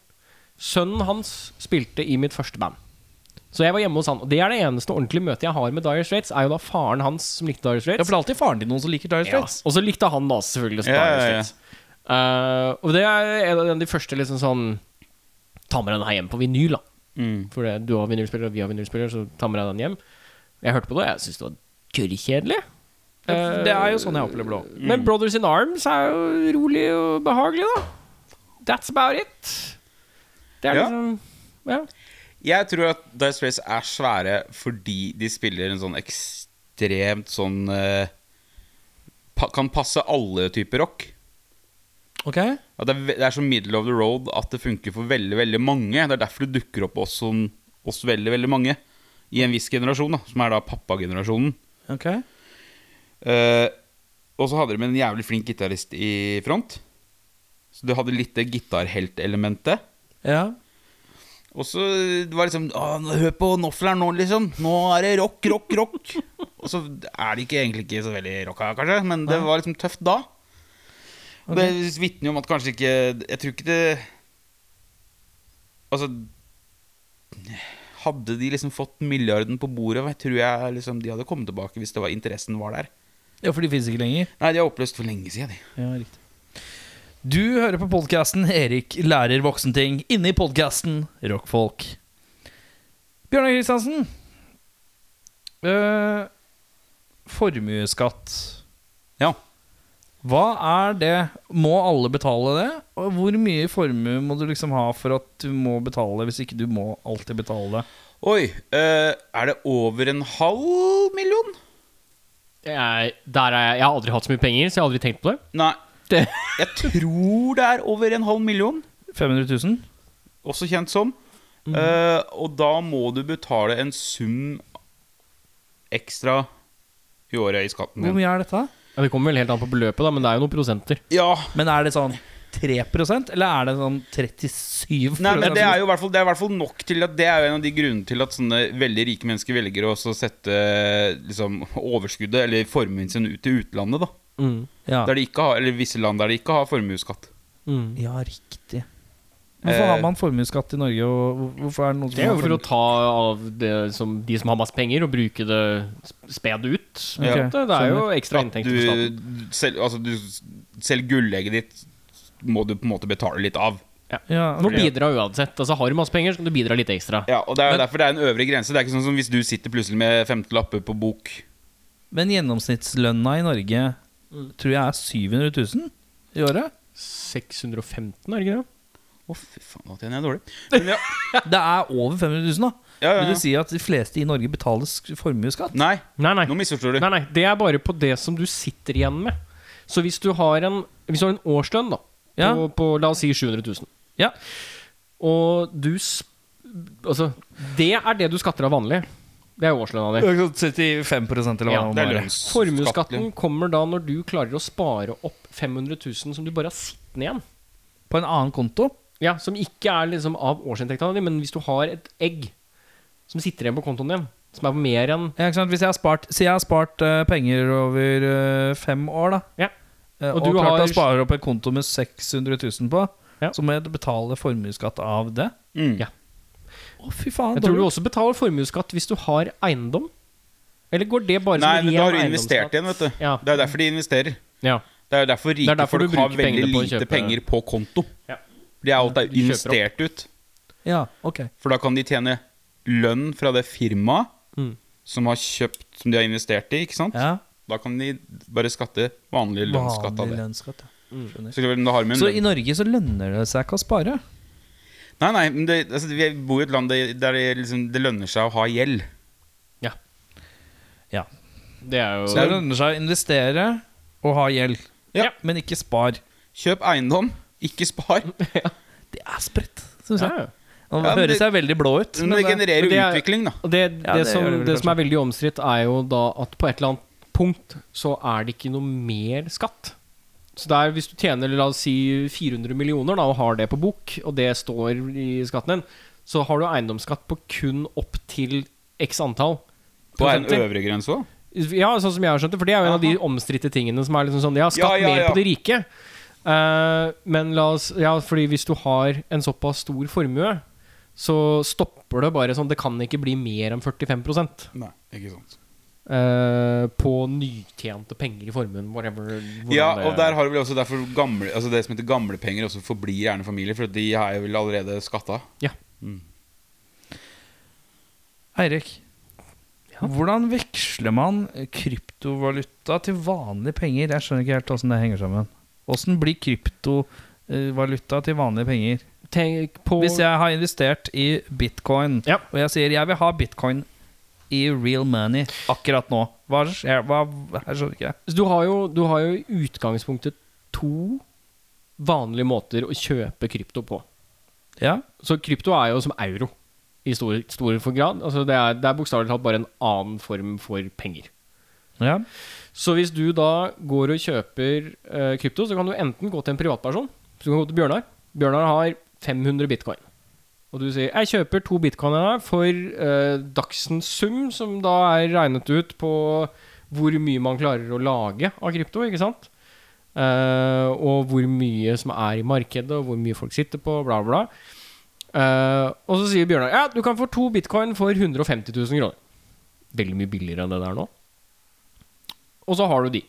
Sønnen hans spilte i mitt første band. Så jeg var hjemme hos han. Og det er det eneste ordentlige møtet jeg har med Dire Straits, er jo da faren hans som likte Dire
Ja,
Straits.
for det er alltid faren til noen som liker Dire
Ja,
Straits.
og så likte han da selvfølgelig Star
Ja,
Wars
ja, ja.
litt. Eh, og det er en av de første liksom sånn Ta med deg den her hjem på vinyl, da.
Mm.
For det, du har vinylspiller, og vi har vinylspiller, så ta med deg den hjem. Jeg hørte på det, og jeg syntes det var kørrkjedelig.
Ja, for det er jo sånn jeg opplever det òg.
Men Brothers in Arms er jo rolig og behagelig, da. That's about it. Det er
Ja.
liksom Ja.
Jeg tror at Dice Race er svære fordi de spiller en sånn ekstremt ekstremt sånn eh, pa Kan passe alle typer rock.
Ok
At det, er, ve- det er så middle of the road at det funker for veldig veldig mange. Det er derfor det dukker opp oss, som, oss veldig veldig mange i en viss generasjon, da, som er da pappagenerasjonen.
Ok
Eh, og så hadde de en jævlig flink gitarist i front. Så du hadde litt det gitarheltelementet.
Ja
Og så det var liksom «Å, nå- Hør på Noffler nå, liksom. Nå er det rock, rock, rock. og så er det ikke, egentlig ikke så veldig rocka, kanskje, men det var liksom tøft da. Og det vitner jo om at kanskje ikke Jeg tror ikke det Altså Hadde de liksom fått milliarden på bordet, tror jeg liksom de hadde kommet tilbake hvis det var interessen var der.
Ja, for de finnes ikke lenger
Nei, de er oppløst for lenge siden, de.
Ja, riktig Du hører på podcasten Erik lærer voksenting Inne i podcasten Rockfolk Bjørnar Kristiansen eh, Formueskatt
Ja.
Hva er det? Må alle betale det? Og hvor mye formue må du liksom ha for at du må betale Hvis ikke du må alltid betale det?
Oi, eh, er det over en halv million?
Jeg, der er jeg, jeg har aldri hatt så mye penger, så jeg har aldri tenkt på det.
Nei,
Det-
jeg tror det er over en halv million.
500 000?
også kjent som. Eh, og da må du betale en sum ekstra i året i skatten
Hvor
din.
mye er dette?
Ja, det kommer vel helt an på beløpet, da, men det er jo noen prosenter.
Ja,
Men er det sånn 3 eller er det sånn 37
Nei, men det er jo i hvert fall, det er i hvert fall nok til at Det er jo en av de grunnene til at sånne veldig rike mennesker velger å også sette liksom, overskuddet, eller formuen sin, ut til utlandet. da
ja.
der de ikke har, Eller visse land der de ikke har formuesskatt.
Mm.
ja, riktig. Hvorfor har man formuesskatt i Norge, og hvorfor er det noen
Eh.
som
Det er jo
har
for å
formue-
ta av det som, de som har masse penger, og bruke det sp- sped ut. på en
Ja.
måte. Det er jo ekstra
At
inntekt
du,
for staten.
selv, altså, du, selv gullegget ditt må du på en måte betale litt av.
Ja,
Du må
ok.
bidra uansett. Altså, har du masse penger, så kan du bidra litt ekstra.
Ja, og Det er jo derfor det er en øvre grense. Det er ikke sånn som hvis du sitter plutselig med 50 lapper på bok.
Men gjennomsnittslønna i Norge tror jeg er 700 000 i året.
615, er det ikke det?
Å, fy faen, nå tjener jeg dårlig. Men ja,
Det er over 500 000, da.
ja, ja,
Vil du
ja.
si at de fleste i Norge betaler sk- formuesskatt?
Nei,
Nei, nei.
nå misforstår du.
Nei, nei, det er bare på det som du sitter igjen med. Så hvis du har en, hvis du har en årslønn da, på,
Ja.
på la oss si 700 000,
Ja.
og du sp- Altså, det er det du skatter av vanlig. Det er årslønna di.
75 sånn eller hva
Ja,
det
Det er
var.
lønnsskatt.
Formuesskatten kommer da når du klarer å spare opp 500 000 som du bare har sittende igjen.
På en annen konto.
Ja, Som ikke er liksom av årsinntekta di, men hvis du har et egg som sitter igjen på kontoen din, som er på mer enn
Ja, ikke sant? Hvis jeg har spart, si jeg har spart eh, penger over eh, fem år, da.
Ja.
Eh,
Og
og,
du
klart
har-
jeg sparer opp en konto med 600 000 på,
Ja.
så må jeg betale formuesskatt av det.
Mm.
Ja.
Å, fy faen.
Jeg tror du
dårlig.
også betaler formuesskatt hvis du har eiendom. Eller går det bare som
Nei, men
ren
da har du investert
eiendomsskatt?
igjen, vet du.
Ja.
Det er derfor de investerer.
ja.
Det er derfor
Det
rike
er derfor du
folk har
bruker
veldig
pengene på å
lite
kjøpe-
penger på konto.
Ja.
Det er alt er
De kjøper
investert ut.
Ja, ok.
For da kan de tjene lønn fra det firmaet
Mm.
som har kjøpt, som de har investert i. ikke sant?
Ja.
Da kan de bare skatte vanlig lønnsskatt av
Vanlig
det.
lønnsskatt. Ja. Skjønner.
Så, klart, da har vi en
Så
lønn.
i Norge så lønner det seg ikke å spare.
Nei, nei, men det, altså, vi bor i et land der der det, liksom, det lønner seg å ha gjeld.
Ja.
Det er jo
Så det lønner seg å investere og ha gjeld,
Ja.
men ikke spar.
Kjøp eiendom, ikke spar.
Det er spredt, syns
ja.
jeg.
ja.
Nå
Ja, men
høres jeg veldig blå ut. eh,
Men det genererer
men det
jo
er-
utvikling, da.
Og det, det,
det
som,
gjør det
det,
vel
som er veldig omstridt, er jo da at på et eller annet punkt så er det ikke noe mer skatt. Så det er hvis du tjener la oss si 400 millioner da, og har det på bok, og det står i skatten din, så har du eiendomsskatt på kun opp til x antall.
På en
prosenter.
øvre grense òg.
Ja, sånn som jeg har skjønt det. For det er jo en av de omstridte tingene som er liksom sånn Ja, skatt
Ja, ja,
mer
ja.
på de rike. Eh, men la oss Ja, fordi hvis du har en såpass stor formue, så stopper det bare sånn Det kan ikke bli mer enn 45
Nei, ikke sant.
eh, på nytjente penger i formuen, whatever. hvordan
Ja,
det-
og der har du vel også derfor gamle, altså det som heter gamlepenger, også forblir gjerne familie, for de har jo vel allerede skatta.
Eirik, hvordan veksler man kryptovaluta til vanlige penger? Jeg skjønner ikke helt åssen det henger sammen. Åssen blir kryptovaluta til vanlige penger?
Tenk på
Hvis jeg har investert i bitcoin,
Ja.
og jeg sier jeg vil ha bitcoin i real money akkurat nå? Hva skjer? Hva, jeg skjønner ikke.
Så du har, jo, du har jo i utgangspunktet to vanlige måter å kjøpe krypto på.
Ja,
Så krypto er jo som euro i stor, stor for grad. Altså det er, det er bokstavelig talt bare en annen form for penger.
ja.
Så hvis du da går og kjøper eh, krypto, så kan du enten gå til en privatperson. Så du kan gå til Bjørnar. Bjørnar har 500 bitcoin. Og du sier 'jeg kjøper to bitcoin her for eh, dagsens sum', som da er regnet ut på hvor mye man klarer å lage av krypto, ikke sant? Eh, og hvor mye som er i markedet, og hvor mye folk sitter på, bla, bla. Eh, og så sier Bjørnar 'ja, du kan få to bitcoin for 150 000 kroner'. Veldig mye billigere enn det der nå og så har du de.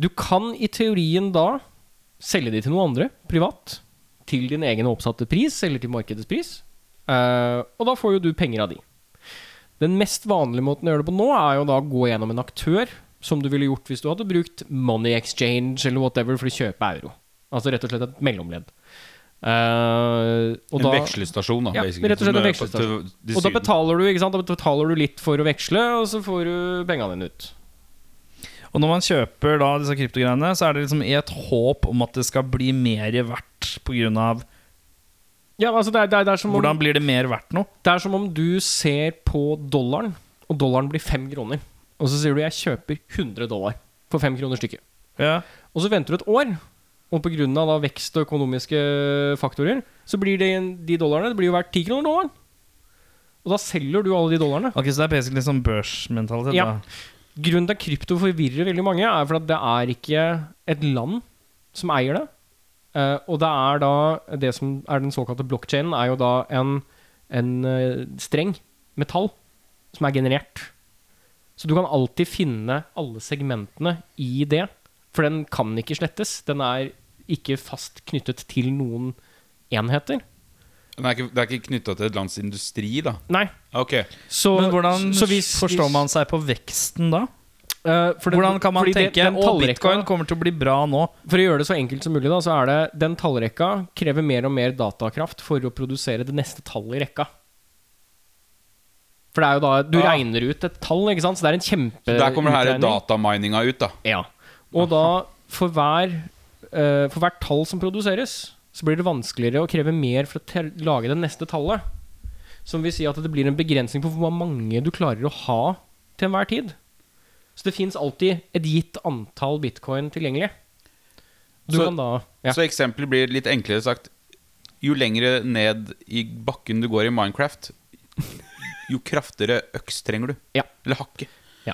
Du kan i teorien da selge de til noen andre, privat, til din egen oppsatte pris, eller til markedets pris, eh, og da får jo du penger av de. Den mest vanlige måten å gjøre det på nå, er jo da å gå gjennom en aktør, som du ville gjort hvis du hadde brukt money exchange eller whatever for å kjøpe euro. Altså rett og slett et mellomledd. Eh, og
En
da-
vekselstasjon, da.
ja,
basically.
rett og slett en
Som er på-
vekselstasjon.
til- til
Og da
Syden.
betaler, du, ikke sant? da betaler du litt for å veksle, og så får du pengene dine ut.
Og når man kjøper da disse kryptogreiene, så er det liksom i et håp om at det skal bli mer verdt pga.
Ja, altså det er, det, er, det, er som om,
Hvordan blir det mer verdt nå?
det er som om du ser på dollaren, og dollaren blir fem kroner. Og så sier du 'jeg kjøper 100 dollar for fem kroner stykket'.
Ja.
Og så venter du et år, og pga. vekst og økonomiske faktorer, så blir det, de dollarene det blir jo verdt ti kroner dollaren. Og da selger du alle de dollarene.
Ok, Så det er basically sånn børsmentalitet?
Ja.
da.
Grunnen til at krypto forvirrer veldig mange, er for at det er ikke et land som eier det. Eh, og det er da det som er den såkalte blokkjeden, er jo da en, en eh, streng metall som er generert. Så du kan alltid finne alle segmentene i det, for den kan ikke slettes. Den er ikke fast knyttet til noen enheter.
Den er ikke, det er ikke knytta til et lands industri, da?
Nei.
Ok.
Så,
Men hvordan
så hvis-
forstår man seg på veksten da?
Eh, for den-
Hvordan kan man
fordi det-
tenke
den
at
tallrekka-
bitcoin kommer til å bli bra nå?
For å gjøre det så enkelt som mulig, da, så er det den tallrekka krever mer og mer datakraft for å produsere det neste tallet i rekka. For det er jo da Du
Ja.
regner ut et tall, ikke sant? Så det er en kjempe
Der kommer det her
utregning.
datamininga ut, da.
Ja. Og da, for, hver, eh, for hvert tall som produseres, så blir det vanskeligere å kreve mer for å te- lage det neste tallet. Som vil si at det blir en begrensning på hvor mange du klarer å ha til enhver tid. Så det fins alltid et gitt antall bitcoin tilgjengelig. Du
Så-
kan da ja.
Så eksempelet blir litt enklere sagt Jo lengre ned i bakken du går i Minecraft, jo kraftigere øks trenger du.
Ja.
Eller hakke.
Ja.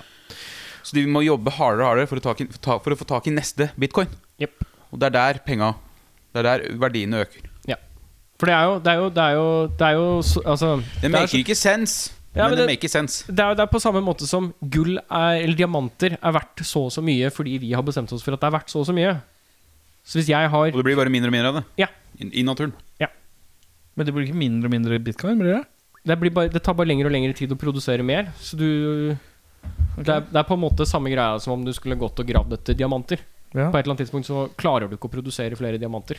Så de må jobbe hardere og hardere for å, tak i, for, ta, for å få tak i neste bitcoin.
Jepp.
Og det er der penga Det er der verdiene øker.
Ja. For det er jo Det er jo Det er jo, det er jo så- altså
Det
er
maker ikke sens,
Ja,
men
men
det
det-
maker sense.
det er, jo- det er på samme måte som gull er, eller diamanter er verdt så og så mye fordi vi har bestemt oss for at det er verdt så og så mye. Så hvis jeg har
Og det blir bare mindre og mindre av det
Ja.
i, i naturen.
Men det blir ikke mindre og mindre bitcoin? blir det?
Det, blir bare, det tar bare lengre og lengre tid å produsere mer. Så du det, er, det er på en måte samme greia som om du skulle gått og gravd etter diamanter.
Ja.
På et eller annet tidspunkt så klarer du ikke å produsere flere diamanter.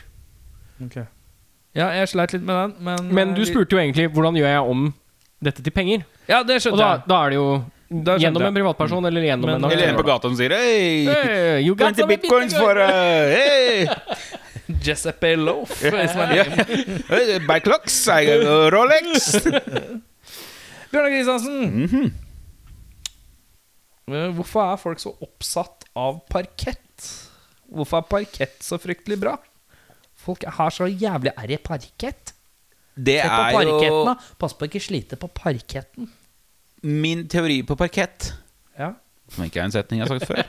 ja, jeg sleit litt med den, men eh,
Men du spurte jo egentlig hvordan gjør jeg om dette til penger?
Ja, det
Og
skjønte
da,
jeg.
da er det jo
Da skjønte
gjennom
jeg.
en privatperson eller gjennom
Men-
en
Eller en på
aktør.
gata som sier Hei,
Hey, you got
20
some
bitcoins
bitcoin.
for uh, hey,
Giuseppe Loaf. som er
yeah. Hey, Buy clocks, I got a Rolex.
Bjørnar Kristiansen! Eh, Hvorfor er folk så oppsatt av parkett? Hvorfor er parkett så fryktelig bra? Folk har så jævlig Er det parkett?
Det
Se på
er
parketten,
jo
da. Pass på å ikke slite på parketten.
min teori på parkett.
Ja.
som ikke er en setning jeg har sagt før,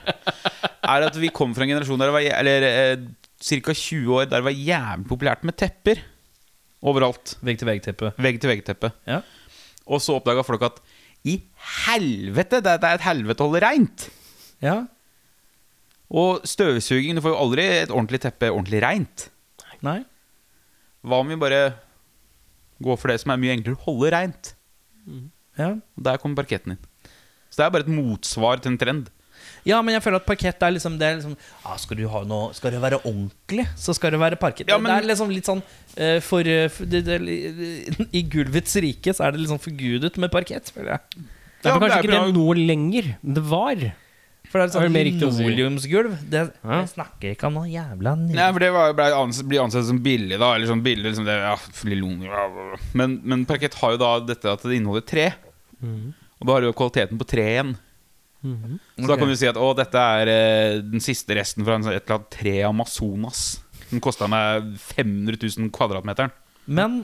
er at vi kom fra en generasjon der det var jæ- Eller eh, ca. 20 år der det var jævlig populært med tepper overalt.
Vegg til vegg-teppe.
Vegg-til-vegg-teppe.
Ja.
Og så oppdaga folk at i helvete! Det det er et helvete å holde reint!
Ja.
Og støvsuging Du får jo aldri et ordentlig teppe ordentlig reint.
Nei.
Hva om vi bare går for det som er mye enklere å holde reint?
Ja.
Og der kommer parketten inn. Så det er bare et motsvar til en trend.
Ja, men jeg føler at parkett er liksom det er liksom, ja, skal, du ha noe, skal det være ordentlig, så skal det være parkett.
Ja, men-
det er liksom litt sånn eh, for, eh, for det, det, I gulvets rike så er det liksom forgudet med parkett, føler jeg.
Det er
men
kanskje
det er
ikke det
bra.
nå lenger, men det var.
For det er
Det er mer
sånn
riktig å si.
linoleumsgulv. Det,
Ja.
Jeg snakker ikke om noe jævla
Nei,
nydelig.
for det var, ble ansett, blir ansett som billig, da. Eller sånn billig liksom det, ja, lilong, ja, bla, bla. Men, men parkett har jo da dette at det inneholder tre. Og da har du jo kvaliteten på treet igjen. Så da kan du si at å, dette er eh, den siste resten fra en, sånn- et eller annet tre i Amazonas. Den kosta meg 500 000 kvadratmeteren.
Men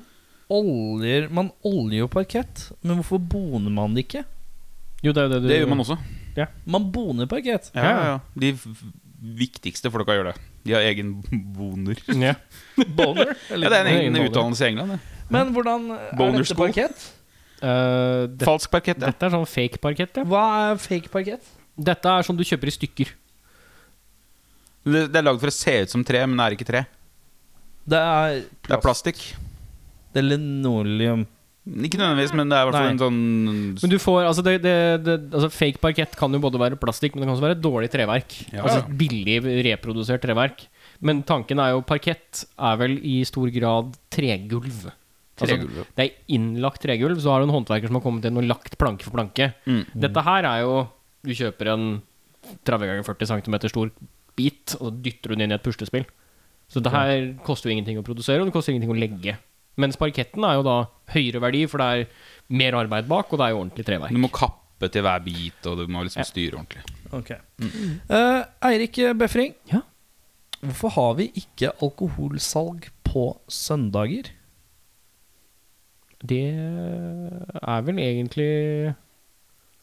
oljer, man oljer jo parkett, men hvorfor boner man det ikke?
Jo, det er jo det du
Det gjør man også.
Man boner parkett.
Ja, ja, ja. De f- viktigste folka gjør det. De har egen boner.
Ja.
Boner?
Ja, det er en
Egen
egen
boner.
utdannelse i England. Det.
Men hvordan er
Boner
dette
school?
parkett?
Eh, det,
Falsk parkett. Ja.
dette er sånn fake parkett. Ja.
Hva er fake parkett?
Dette er som du kjøper i stykker.
Det, det er lagd for å se ut som tre, men det er ikke tre.
Det er,
Det er plastikk.
det er linoleum.
Ikke nødvendigvis, men det er i hvert fall
Nei.
en sånn
Men du får, altså, det, det, det, altså Fake parkett kan jo både være plastikk, men det kan også være dårlig treverk.
Ja.
Altså billig reprodusert treverk. Men tanken er jo parkett er vel i stor grad tregulv.
Tregulv, ja.
Altså, det er innlagt tregulv, så har du en håndverker som har kommet inn og lagt planke for planke.
Mm.
Dette her er jo Du kjøper en 30 ganger 40 cm stor bit, og så dytter du den inn i et puslespill. Så det her koster jo ingenting å produsere, og det koster ingenting å legge. Mens parketten er jo da høyere verdi, for det er mer arbeid bak, og det er jo ordentlig treverk.
Du må kappe til hver bit, og du må liksom styre ordentlig.
Ok Eh, Eirik Befring,
Ja.
hvorfor har vi ikke alkoholsalg på søndager?
Eh, Det er vel egentlig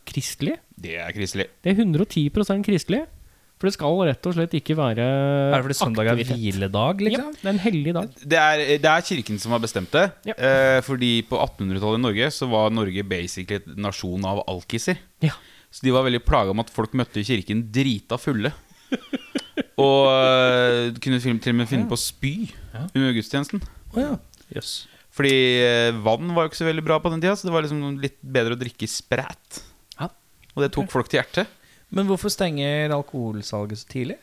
kristelig?
Det er kristelig.
Det er 110 kristelig. For det skal rett og slett ikke være
Er det fordi søndag er hviledag,
Ja,
liksom?
det er en hellig dag.
Det er, det er kirken som har bestemt det.
Ja.
Eh, fordi på 1800-tallet i Norge så var Norge basically en nasjon av alkiser.
Ja.
Så de var veldig plaga med at folk møtte i kirken drita fulle. og eh, kunne film, til og med finne på å spy under gudstjenesten.
Å ja. Jøss.
Fordi eh, vann var jo ikke så veldig bra på den tida, så det var liksom litt bedre å drikke spræt.
Ja.
Og det tok folk til hjertet.
Men hvorfor stenger alkoholsalget så tidlig?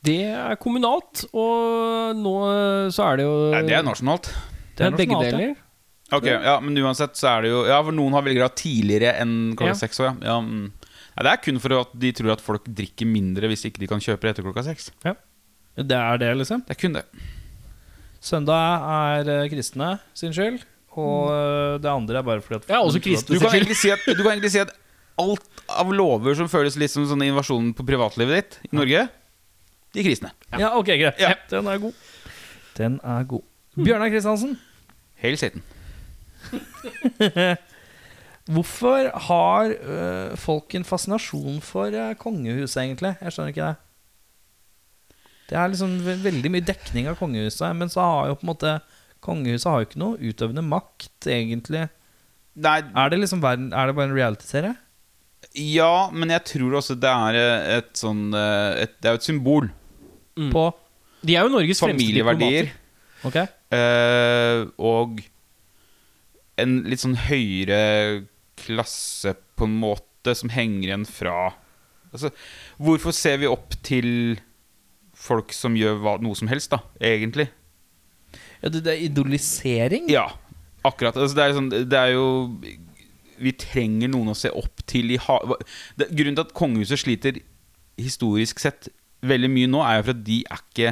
Det er kommunalt, og nå eh, så er det jo
Nei, det er nasjonalt.
det er begge
nasjonalt, ja.
deler.
Ok, ja, Men uansett så er det jo Ja, for noen har velgere tidligere enn
Ja.
klokka seks. også, Ja. Ja, mm. Nei, det er kun for at de tror at folk drikker mindre hvis ikke de kan kjøpe det etter klokka seks.
Det er det, liksom.
Det er kun det.
Søndag er eh, kristne sin skyld, og eh, det andre er bare fordi at
Ja, også
Du
kristne sin
kan
skyld.
egentlig si at, du kan egentlig si at alt av lover som føles litt som sånne invasjoner på privatlivet ditt i Norge, de kristne.
Ja, ok, greit.
Ja.
Den er god. Den er god. Bjørnar Kristiansen,
Hail Satan.
hvorfor har øh, folk en fascinasjon for øh, kongehuset, egentlig? Jeg skjønner ikke det. Det er liksom ve- veldig mye dekning av kongehuset, men så har jo på en måte Kongehuset har jo ikke noe utøvende makt, egentlig.
Nei,
Er det liksom verden, er det bare en realityserie?
ja, men jeg tror også det er eh, et sånn eh, et, Det er jo et symbol.
Mm.
På
De er jo Norges fremste
Familieverdier.
diplomater.
Ok?
Eh, og en litt sånn høyere klasse, på en måte, som henger igjen fra Altså, hvorfor ser vi opp til folk som gjør hva, noe som helst, da, egentlig?
Ja, det, det er idolisering?
Ja, akkurat. Altså, det, er sånn, det er jo Vi trenger noen å se opp til i ha... hva- Det, grunnen til at kongehuset sliter historisk sett veldig mye nå, er jo for at de er ikke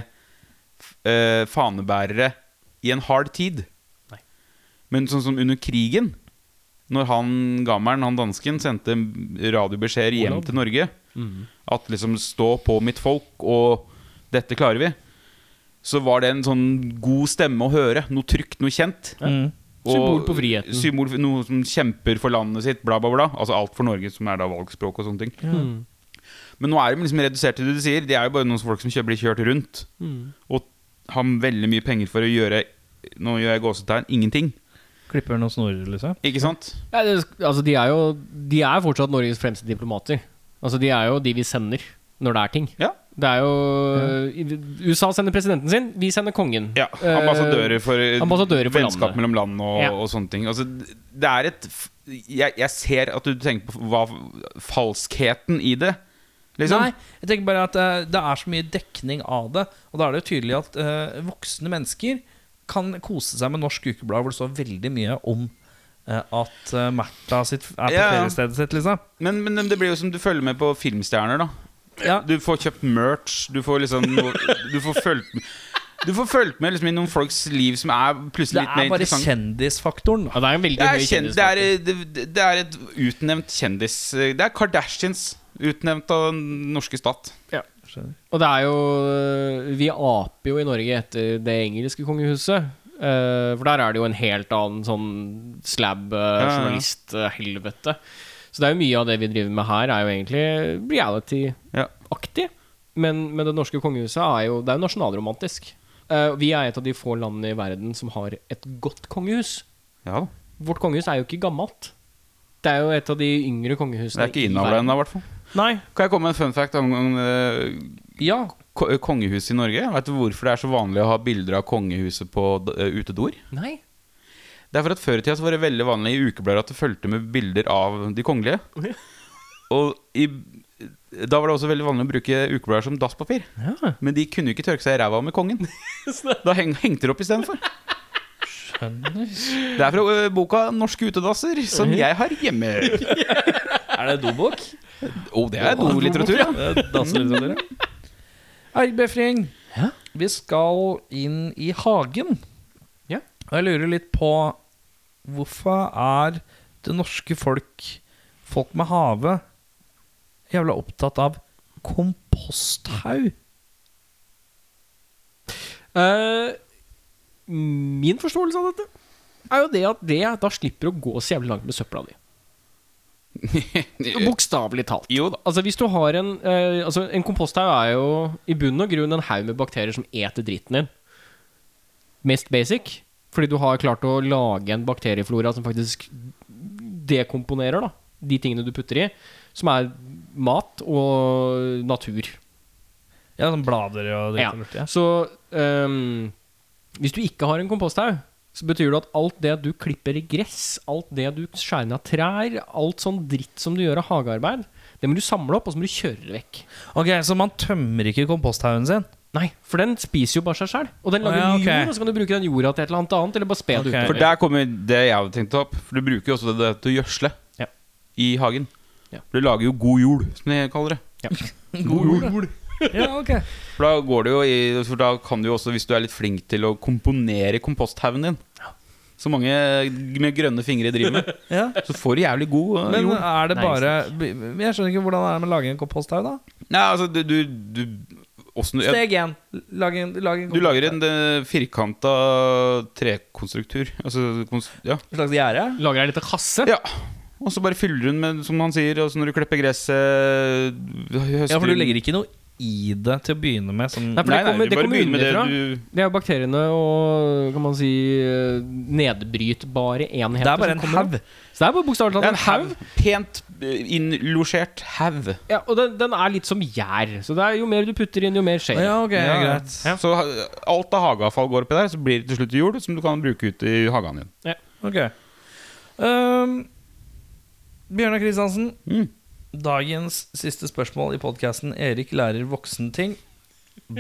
eh, fanebærere i en hard tid. Men sånn som under krigen, når han gammelen, han dansken, sendte radiobeskjeder hjem
Olav.
til Norge At liksom 'stå på mitt folk', og 'dette klarer vi', så var det en sånn god stemme å høre. Noe trygt, noe kjent.
Mm.
Symbol på friheten.
Symbol for noe som kjemper for landet sitt, bla, bla, bla. Altså alt for Norge, som er da valgspråk og sånne ting.
Mm.
Men nå er de liksom redusert til det du sier. De er jo bare noen folk som kjø- blir kjørt rundt.
Mm.
Og har veldig mye penger for å gjøre Nå gjør jeg gåsetegn ingenting.
Klipper noen snorer, liksom?
Ikke sant?
Ja, det, altså, de er jo De er fortsatt Norges fremste diplomater. Altså, de er jo de vi sender når det er ting.
Ja.
Det er jo USA sender presidenten sin, vi sender kongen.
Ja,
Eh,
ambassadører for, eh,
ambassadører for
vennskap
landet.
mellom land og,
Ja.
og sånne ting. Altså, det er et f- jeg, jeg ser at du tenker på hva falskheten i det. Liksom.
Nei, jeg tenker bare at eh, det er så mye dekning av det. Og da er det jo tydelig at eh, voksne mennesker kan kose seg med Norsk Ukeblad, hvor det står veldig mye om eh, at uh, Märtha sitt, er på
Ja, ja.
feriestedet sitt, liksom.
Men, men det blir jo som du følger med på filmstjerner, da.
Ja.
Du får kjøpt merch, du får liksom noe- Du får fulgt med Du får fulgt med liksom i noen folks liv som er
Det
plutselig litt mer
er bare
interessant.
kjendisfaktoren. da.
Ja, det er en veldig
Det er,
høy
kjend, det, er, eh, det, det er et utnevnt kjendis Det er Kardashians, utnevnt av den norske stat.
Og det er jo Vi aper jo i Norge etter det engelske kongehuset. eh, for der er det jo en helt annen sånn
ja.
slab-journalist-helvete. Så det er jo mye av det vi driver med her, er jo egentlig
Ja.
reality-aktig. Men, men det norske kongehuset er jo Det er jo nasjonalromantisk. Eh, vi er et av de få landene i verden som har et godt kongehus.
Ja da.
Vårt kongehus er jo ikke gammelt. Det er jo et av de yngre
Det
kongehusene
er ikke
i
innavla
verden.
ennå, i hvert fall.
Nei.
Kan jeg komme med en fun fact om, om eh,
Ja,
ko- kongehuset i Norge? Vet du hvorfor det er så vanlig å ha bilder av kongehuset på eh, utedoer?
Nei.
Det er for at Før i tida så var det veldig vanlig i ukeblader at det fulgte med bilder av de kongelige. Og i, da var det også veldig vanlig å bruke ukeblader som dasspapir.
Ja.
Men de kunne jo ikke tørke seg i ræva med kongen. Da heng, hengte de opp istedenfor. Det er fra ø, boka 'Norske utedasser', som jeg har hjemme.
Er det dobok?
Å, det er dolitteratur, ja.
Argbefring.
Ja?
Vi skal inn i hagen.
Ja.
Og jeg lurer litt på hvorfor er det norske folk, folk med have, jævla opptatt av komposthaug?
Eh, min forståelse av dette er jo det at det da slipper å gå så jævlig langt med søpla di. Bokstavelig talt.
Jo da.
Altså hvis du har En eh, Altså en komposthaug er jo i bunn og grunn en haug med bakterier som eter dritten din. Mest basic. Fordi du har klart å lage en bakterieflora som faktisk dekomponerer da de tingene du putter i, som er mat og natur.
Ja, sånn blader og dritt
Ja.
og lurt. Ja.
Så ehm, hvis du ikke har en komposthaug, så betyr det at alt det du klipper i gress, alt det du skjærer ned av trær, alt sånn dritt som du gjør av hagearbeid, det må du samle opp, og så må du kjøre det vekk.
Ok, Så man tømmer ikke komposthaugen sin?
Nei, for den spiser jo bare seg sjøl. Og den lager
Ja, ok.
jord, og så kan du bruke den jorda til et eller annet annet, eller bare spe det
Ok.
utover.
For der kommer det jeg hadde tenkt å ta opp. For du bruker jo også det, der til å gjødsle
Ja.
i hagen.
Ja.
Du lager jo god jord, som de kaller det.
Ja, ok
For da går det jo i For da kan du jo også, hvis du er litt flink til å komponere komposthaugen din Så mange med grønne fingre driver med,
Ja.
så får du jævlig god ø,
Men eh,
jord.
er det
Nei,
bare Jeg skjønner ikke hvordan det er med å lage en komposthaug, da.
Nei, altså, du, du, du, åssen du
Steg én. Lag en, lag en
Du lager
komposthaug.
en eh, firkanta trekonstruktur. Altså, kons- ja.
En slags gjerde?
Lager ei lita kasse.
ja. Og så bare fyller hun med, som han sier, og så når du klipper gresset eh, høster
Ja, for du legger ikke noe i det til å begynne med. sånn- Som,
Nei, for
Nei,
det
nei,
kommer,
du
det
bare
kommer
begynner med det
utenfra.
du
Det er jo bakteriene og kan man si eh, nedbrytbare enheter.
det er
som
bare en
kommer opp.
haug.
Så det er bare bokstavelig
Det
talt
er en haug. Pent eh, innlosjert haug.
Ja, og den, den er litt som gjær. Så det er jo mer du putter inn, jo mer skjer. det.
Ja, ok,
Ja.
greit.
Så ha- alt av hageavfall går oppi der, så blir det til slutt jord som du kan bruke ut i hagen din.
Ok. Ehm, Bjørnar Kristiansen,
Mm.
dagens siste spørsmål i podkasten 'Erik lærer voksenting'.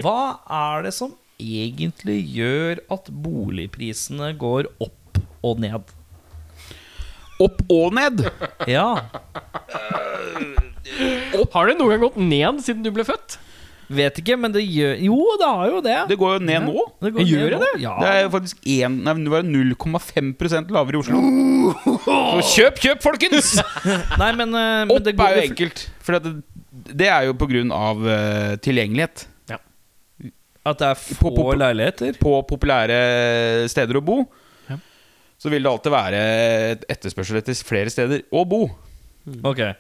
Hva er det som egentlig gjør at boligprisene går opp og ned?
Opp og ned!
Ja,
Har det noen gang gått ned siden du ble født?
vet ikke, men det gjør Jo, det har jo det.
Det går jo ned nå.
går
Gjør
ned
det
nå. Ja.
Det er faktisk en, nei, det var 0,5 lavere i Oslo. Så kjøp, kjøp, folkens!
Nei, men, eh, men
Opp
det går
er jo enkelt. For det, det er jo på grunn av eh, tilgjengelighet.
At det er
På- på-
få
på-
leiligheter.
På populære steder å bo så vil det alltid være et etterspørsel etter flere steder å bo. Mm.
Ok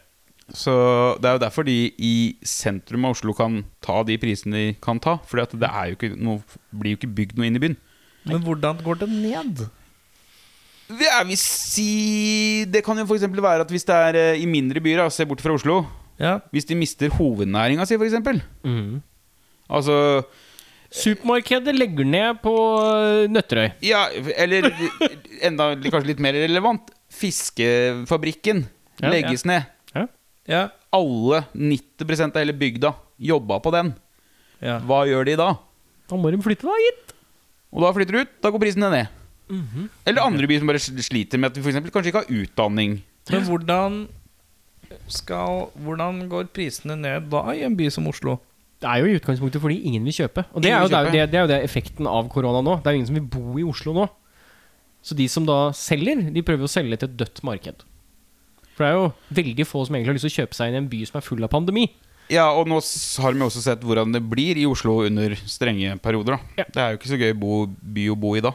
Så Det er jo derfor de i sentrum av Oslo kan ta de prisene de kan ta. For det er jo ikke, noe, blir jo ikke bygd noe inn i byen.
Men hvordan går det ned?
Det, er, hvis, i- det kan jo f.eks. være at hvis det er eh, i mindre byer, da, se bort fra Oslo
Ja,
Hvis de mister hovednæringa si, f.eks. Altså
Mm. Supermarkedet legger ned på øh, Nøtterøy.
Ja, eller enda kanskje litt mer relevant Fiskefabrikken
Ja,
legges ned
ja.
alle, 90 av hele bygda, jobba på den,
Ja.
hva gjør de da?
Da må de flytte, da, gitt.
Og da flytter du ut, da går prisene ned.
Mhm.
Eller andre byer som bare sliter med at de for eksempel kanskje ikke har utdanning.
Men hvordan skal Hvordan går prisene ned da i en by som Oslo?
Det er jo i utgangspunktet fordi ingen vil kjøpe. Og det
Ingen
er, jo,
vil
det, er jo
kjøpe.
det, det er jo det effekten av korona nå. Det er jo ingen som vil bo i Oslo nå. Så de som da selger, de prøver å selge til et dødt marked. For det er jo veldig få som egentlig har lyst til å kjøpe seg inn i en by som er full av pandemi.
Ja, og nå s- har vi også sett hvordan det blir i Oslo under strenge perioder. Da.
Ja.
Det er jo ikke så gøy bo, by å bo i da.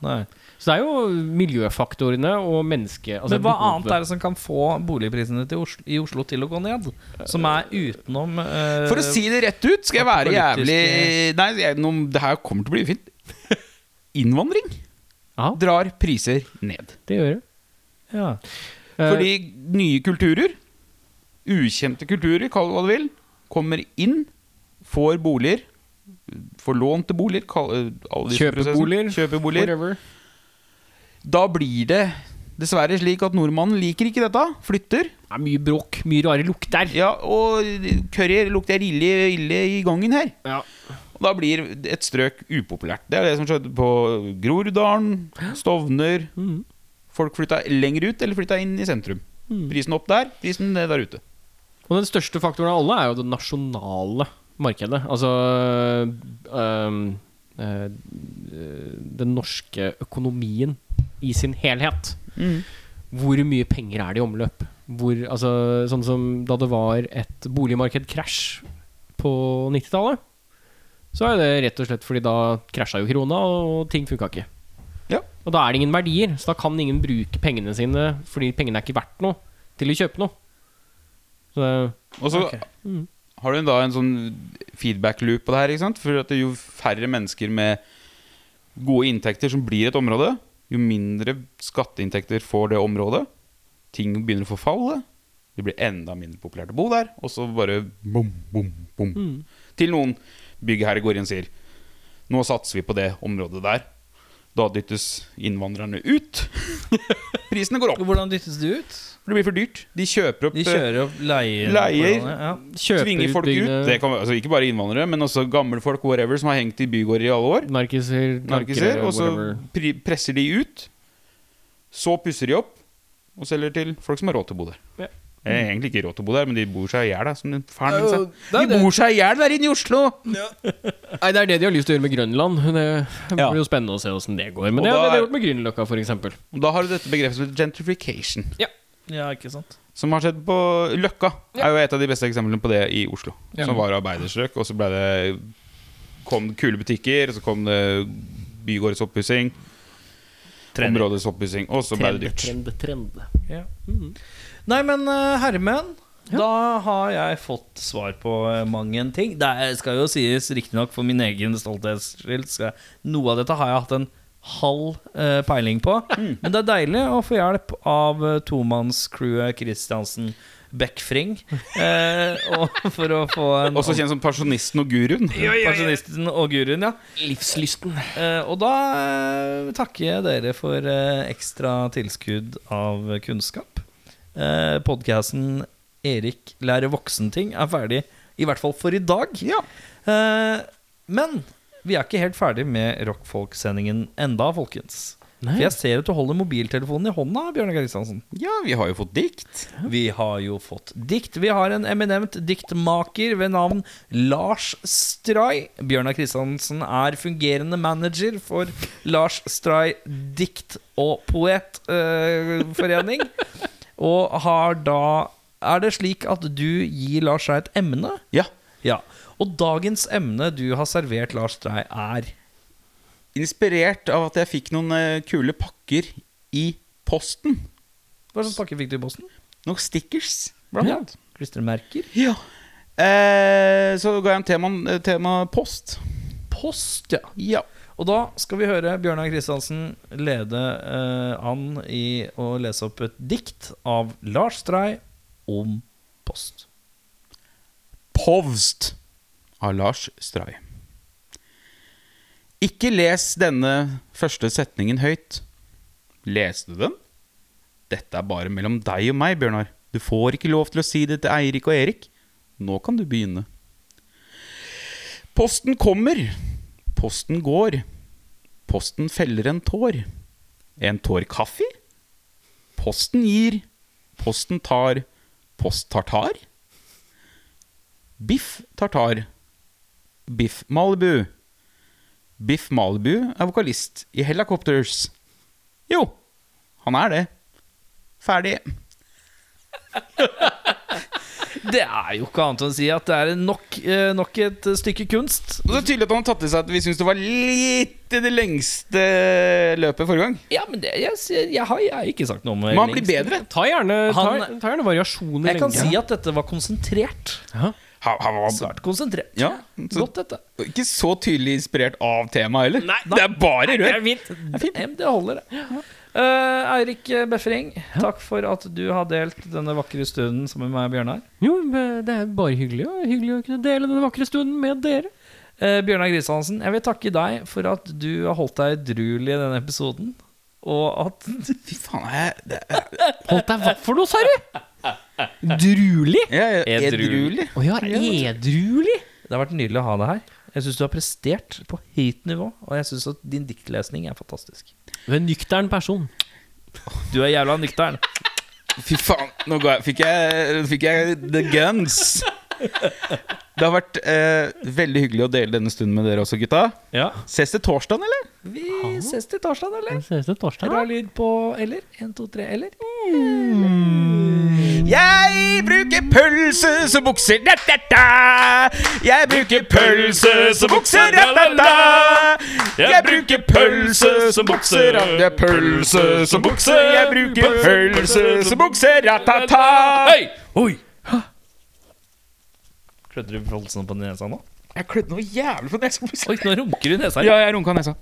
Nei.
Så det er jo miljøfaktorene og mennesket altså
Men hva annet er det som kan få boligprisene til Oslo, i Oslo til å gå ned? Som er utenom eh,
For å si det rett ut, skal jeg være jævlig
politiske-
Nei, jeg, nå, det her kommer til å bli ufint. Innvandring
Ja.
drar priser ned.
Det gjør det.
ja.
Eh,
Fordi nye kulturer, ukjente kulturer, kall det hva du vil, kommer inn, får boliger, får lån til boliger kall, eh, alle disse prosessene.
Eh, Kjøpeboliger,
Kjøpeboliger.
whatever.
Da blir det dessverre slik at nordmannen liker ikke dette, flytter.
Det er mye bråk, mye rare lukter.
Ja, og curry lukter ille, ille i gangen her.
Ja.
Og da blir et strøk upopulært. Det er det som skjedde på Groruddalen, Stovner.
Mhm.
Folk flytta lenger ut eller flytta inn i sentrum.
Mm.
Prisen opp der, prisen ned der ute.
Og den største faktoren av alle er jo det nasjonale markedet. Altså øhm, øh, den norske økonomien i sin helhet. Hvor mye penger er det i omløp? Hvor, altså, sånn som da det var et boligmarkedkrasj på 90-tallet, så er jo det rett og slett fordi da krasja jo krona, og ting funka ikke.
Ja.
Og da er det ingen verdier, så da kan ingen bruke pengene sine, fordi pengene er ikke verdt noe, til å kjøpe noe. Så det
Og så
Mm.
har du da en sånn feedback-loop på det her. ikke sant? For at jo færre mennesker med gode inntekter som blir et område, jo mindre skatteinntekter får det området. Ting begynner å forfalle. Det blir enda mindre populært å bo der. Og så bare bom, bom, bom.
Mm.
Til noen byggherre går inn og sier Nå satser vi på det området der. Da dyttes innvandrerne ut. Prisene går opp.
Hvordan dyttes de ut?
for Det blir for dyrt. De kjøper opp
De
eh,
kjører opp leier.
Leier.
Ja.
Kjøper
Tvinger folk ut.
utbyggende
Det kan, altså, ikke bare innvandrere, men også gamle folk whatever, som har hengt i bygårder i alle år.
Narkiser,
Narkiser.
narkere,
Og så
whatever.
pri- presser de ut. Så pusser de opp og selger til folk som har råd til å bo der.
Ja.
Det er egentlig ikke råd til å bo der, men de bor seg i hjel. da, som den faren
Det er jo-
min sa.
det er
De bor seg i hjel der inne i Oslo!
Nei, det er det de har lyst til å gjøre med Grønland. Det blir jo spennende å se åssen det går. Men
Og
det er
da
det de har
er-
gjort med Grünerløkka, f.eks.
Og da har du dette begrepet som heter gentrification.
ja, ikke sant?
Som har skjedd på Løkka. Er jo et av de beste eksemplene på det i Oslo. Som var arbeiderstrøk, og så ble det kom det kule butikker, og så kom det bygårdets oppussing. Områdets oppussing, og så ble det dyrt.
Nei, men eh, herremenn, da har jeg fått svar på eh, mang en ting. Det er- skal jo sies riktignok for min egen stolthets skyld. skal jeg- Noe av dette har jeg hatt en halv eh, peiling på. Men det er deilig å få hjelp av eh, tomannscrewet Christiansen Beckfring. eh, og for å få en
Også kjent som pensjonisten og guruen.
Pensjonisten og guruen, ja.
Livslysten.
Eh, og da eh, takker jeg dere for eh, ekstra tilskudd av kunnskap. Eh, Podkasten 'Erik lærer voksenting' er ferdig, i hvert fall for i dag. Eh, men vi er ikke helt ferdig med rockfolk-sendingen enda, folkens. For jeg ser at du holder mobiltelefonen i hånda, Bjørnar Kristiansen.
Ja, vi har jo fått dikt.
Vi har jo fått dikt. Vi har en eminent diktmaker ved navn Lars Stray. Bjørnar Kristiansen er fungerende manager for Lars Stray dikt- og poetforening. og har da Er det slik at du gir Lars Stray et emne?
Ja.
Ja. Og dagens emne du har servert Lars Stray, er
Inspirert av at jeg fikk noen eh, kule pakker i posten.
Hva slags pakke fikk du i posten?
Noen stickers, blant annet.
Klistremerker?
Ja. Eh, så ga jeg en tema, tema post.
Post, ja.
Ja.
Og da skal vi høre Bjørnar Kristiansen lede eh, an i å lese opp et dikt av Lars Stray om post.
Povst av Lars Stray. Ikke les denne første setningen høyt. Leste du den? Dette er bare mellom deg og meg, Bjørnar. Du får ikke lov til å si det til Eirik og Erik. Nå kan du begynne. Posten kommer. Posten går. Posten feller en tår. En tår kaffe? Posten gir. Posten tar. Post tartar? Biff tartar. Biff Malibu. Biff Malibu er vokalist i Helicopters. Jo, han er det. Ferdig.
Det er jo ikke annet enn å si at det er nok, eh, nok et stykke kunst.
Og Det er tydelig at han har tatt til seg at vi syns det var litt i det lengste løpet forrige gang.
Ja, men det, jeg, jeg, har, jeg har ikke sagt noe om
Men han blir bedre.
Ta gjerne, ta,
Han-
ta gjerne variasjoner
Jeg kan
lenge.
si at dette var konsentrert.
Han, han var
Svært konsentrert.
Ja, så-
Godt, dette.
ikke så tydelig inspirert av temaet heller. Det er bare rør.
Nei, men Det holder, det. Eh, Eirik Befring, takk for at du har delt denne vakre stunden sammen med meg og Bjørnar.
Jo, men eh, det er bare hyggelig, og hyggelig å kunne dele den vakre stunden med dere.
Eh, Bjørnar Grishansen, jeg vil takke deg for at du har holdt deg edruelig i denne episoden. Og at
Fy faen, jeg, det er
Holdt deg hva for noe, sa du? Drulig?
jeg, er
Edruelig.
edruelig.
Å ja, edrulig?
Det har vært nydelig å ha deg her. Jeg syns du har prestert på høyt nivå, og jeg syns at din diktlesning er fantastisk.
Du er en nøktern person.
Du er jævla nyktern.
Fy faen, nå ga jeg, fikk, jeg, fikk jeg the guns. Det har vært eh, veldig hyggelig å dele denne stunden med dere også, gutta.
Ja.
Ses til torsdagen, eller?
Vi ses til torsdag, eller?
Ses til torsdag.
Bra lyd på eller? Én, to, tre, eller? Mm.
Jeg bruker pølse som bukser, da, da, da. Jeg bruker pølse som bukser, da, da, da. Jeg bruker pølse som bukser, da, da. Pølse som bukser, jeg bruker pølse som bukser, da, da, da.
Oi! Klødde du voldsomt på nesa nå?
Jeg klødde noe jævlig på nesa.
Oi, nå runker du i nesa.
Ja, jeg runka nesa.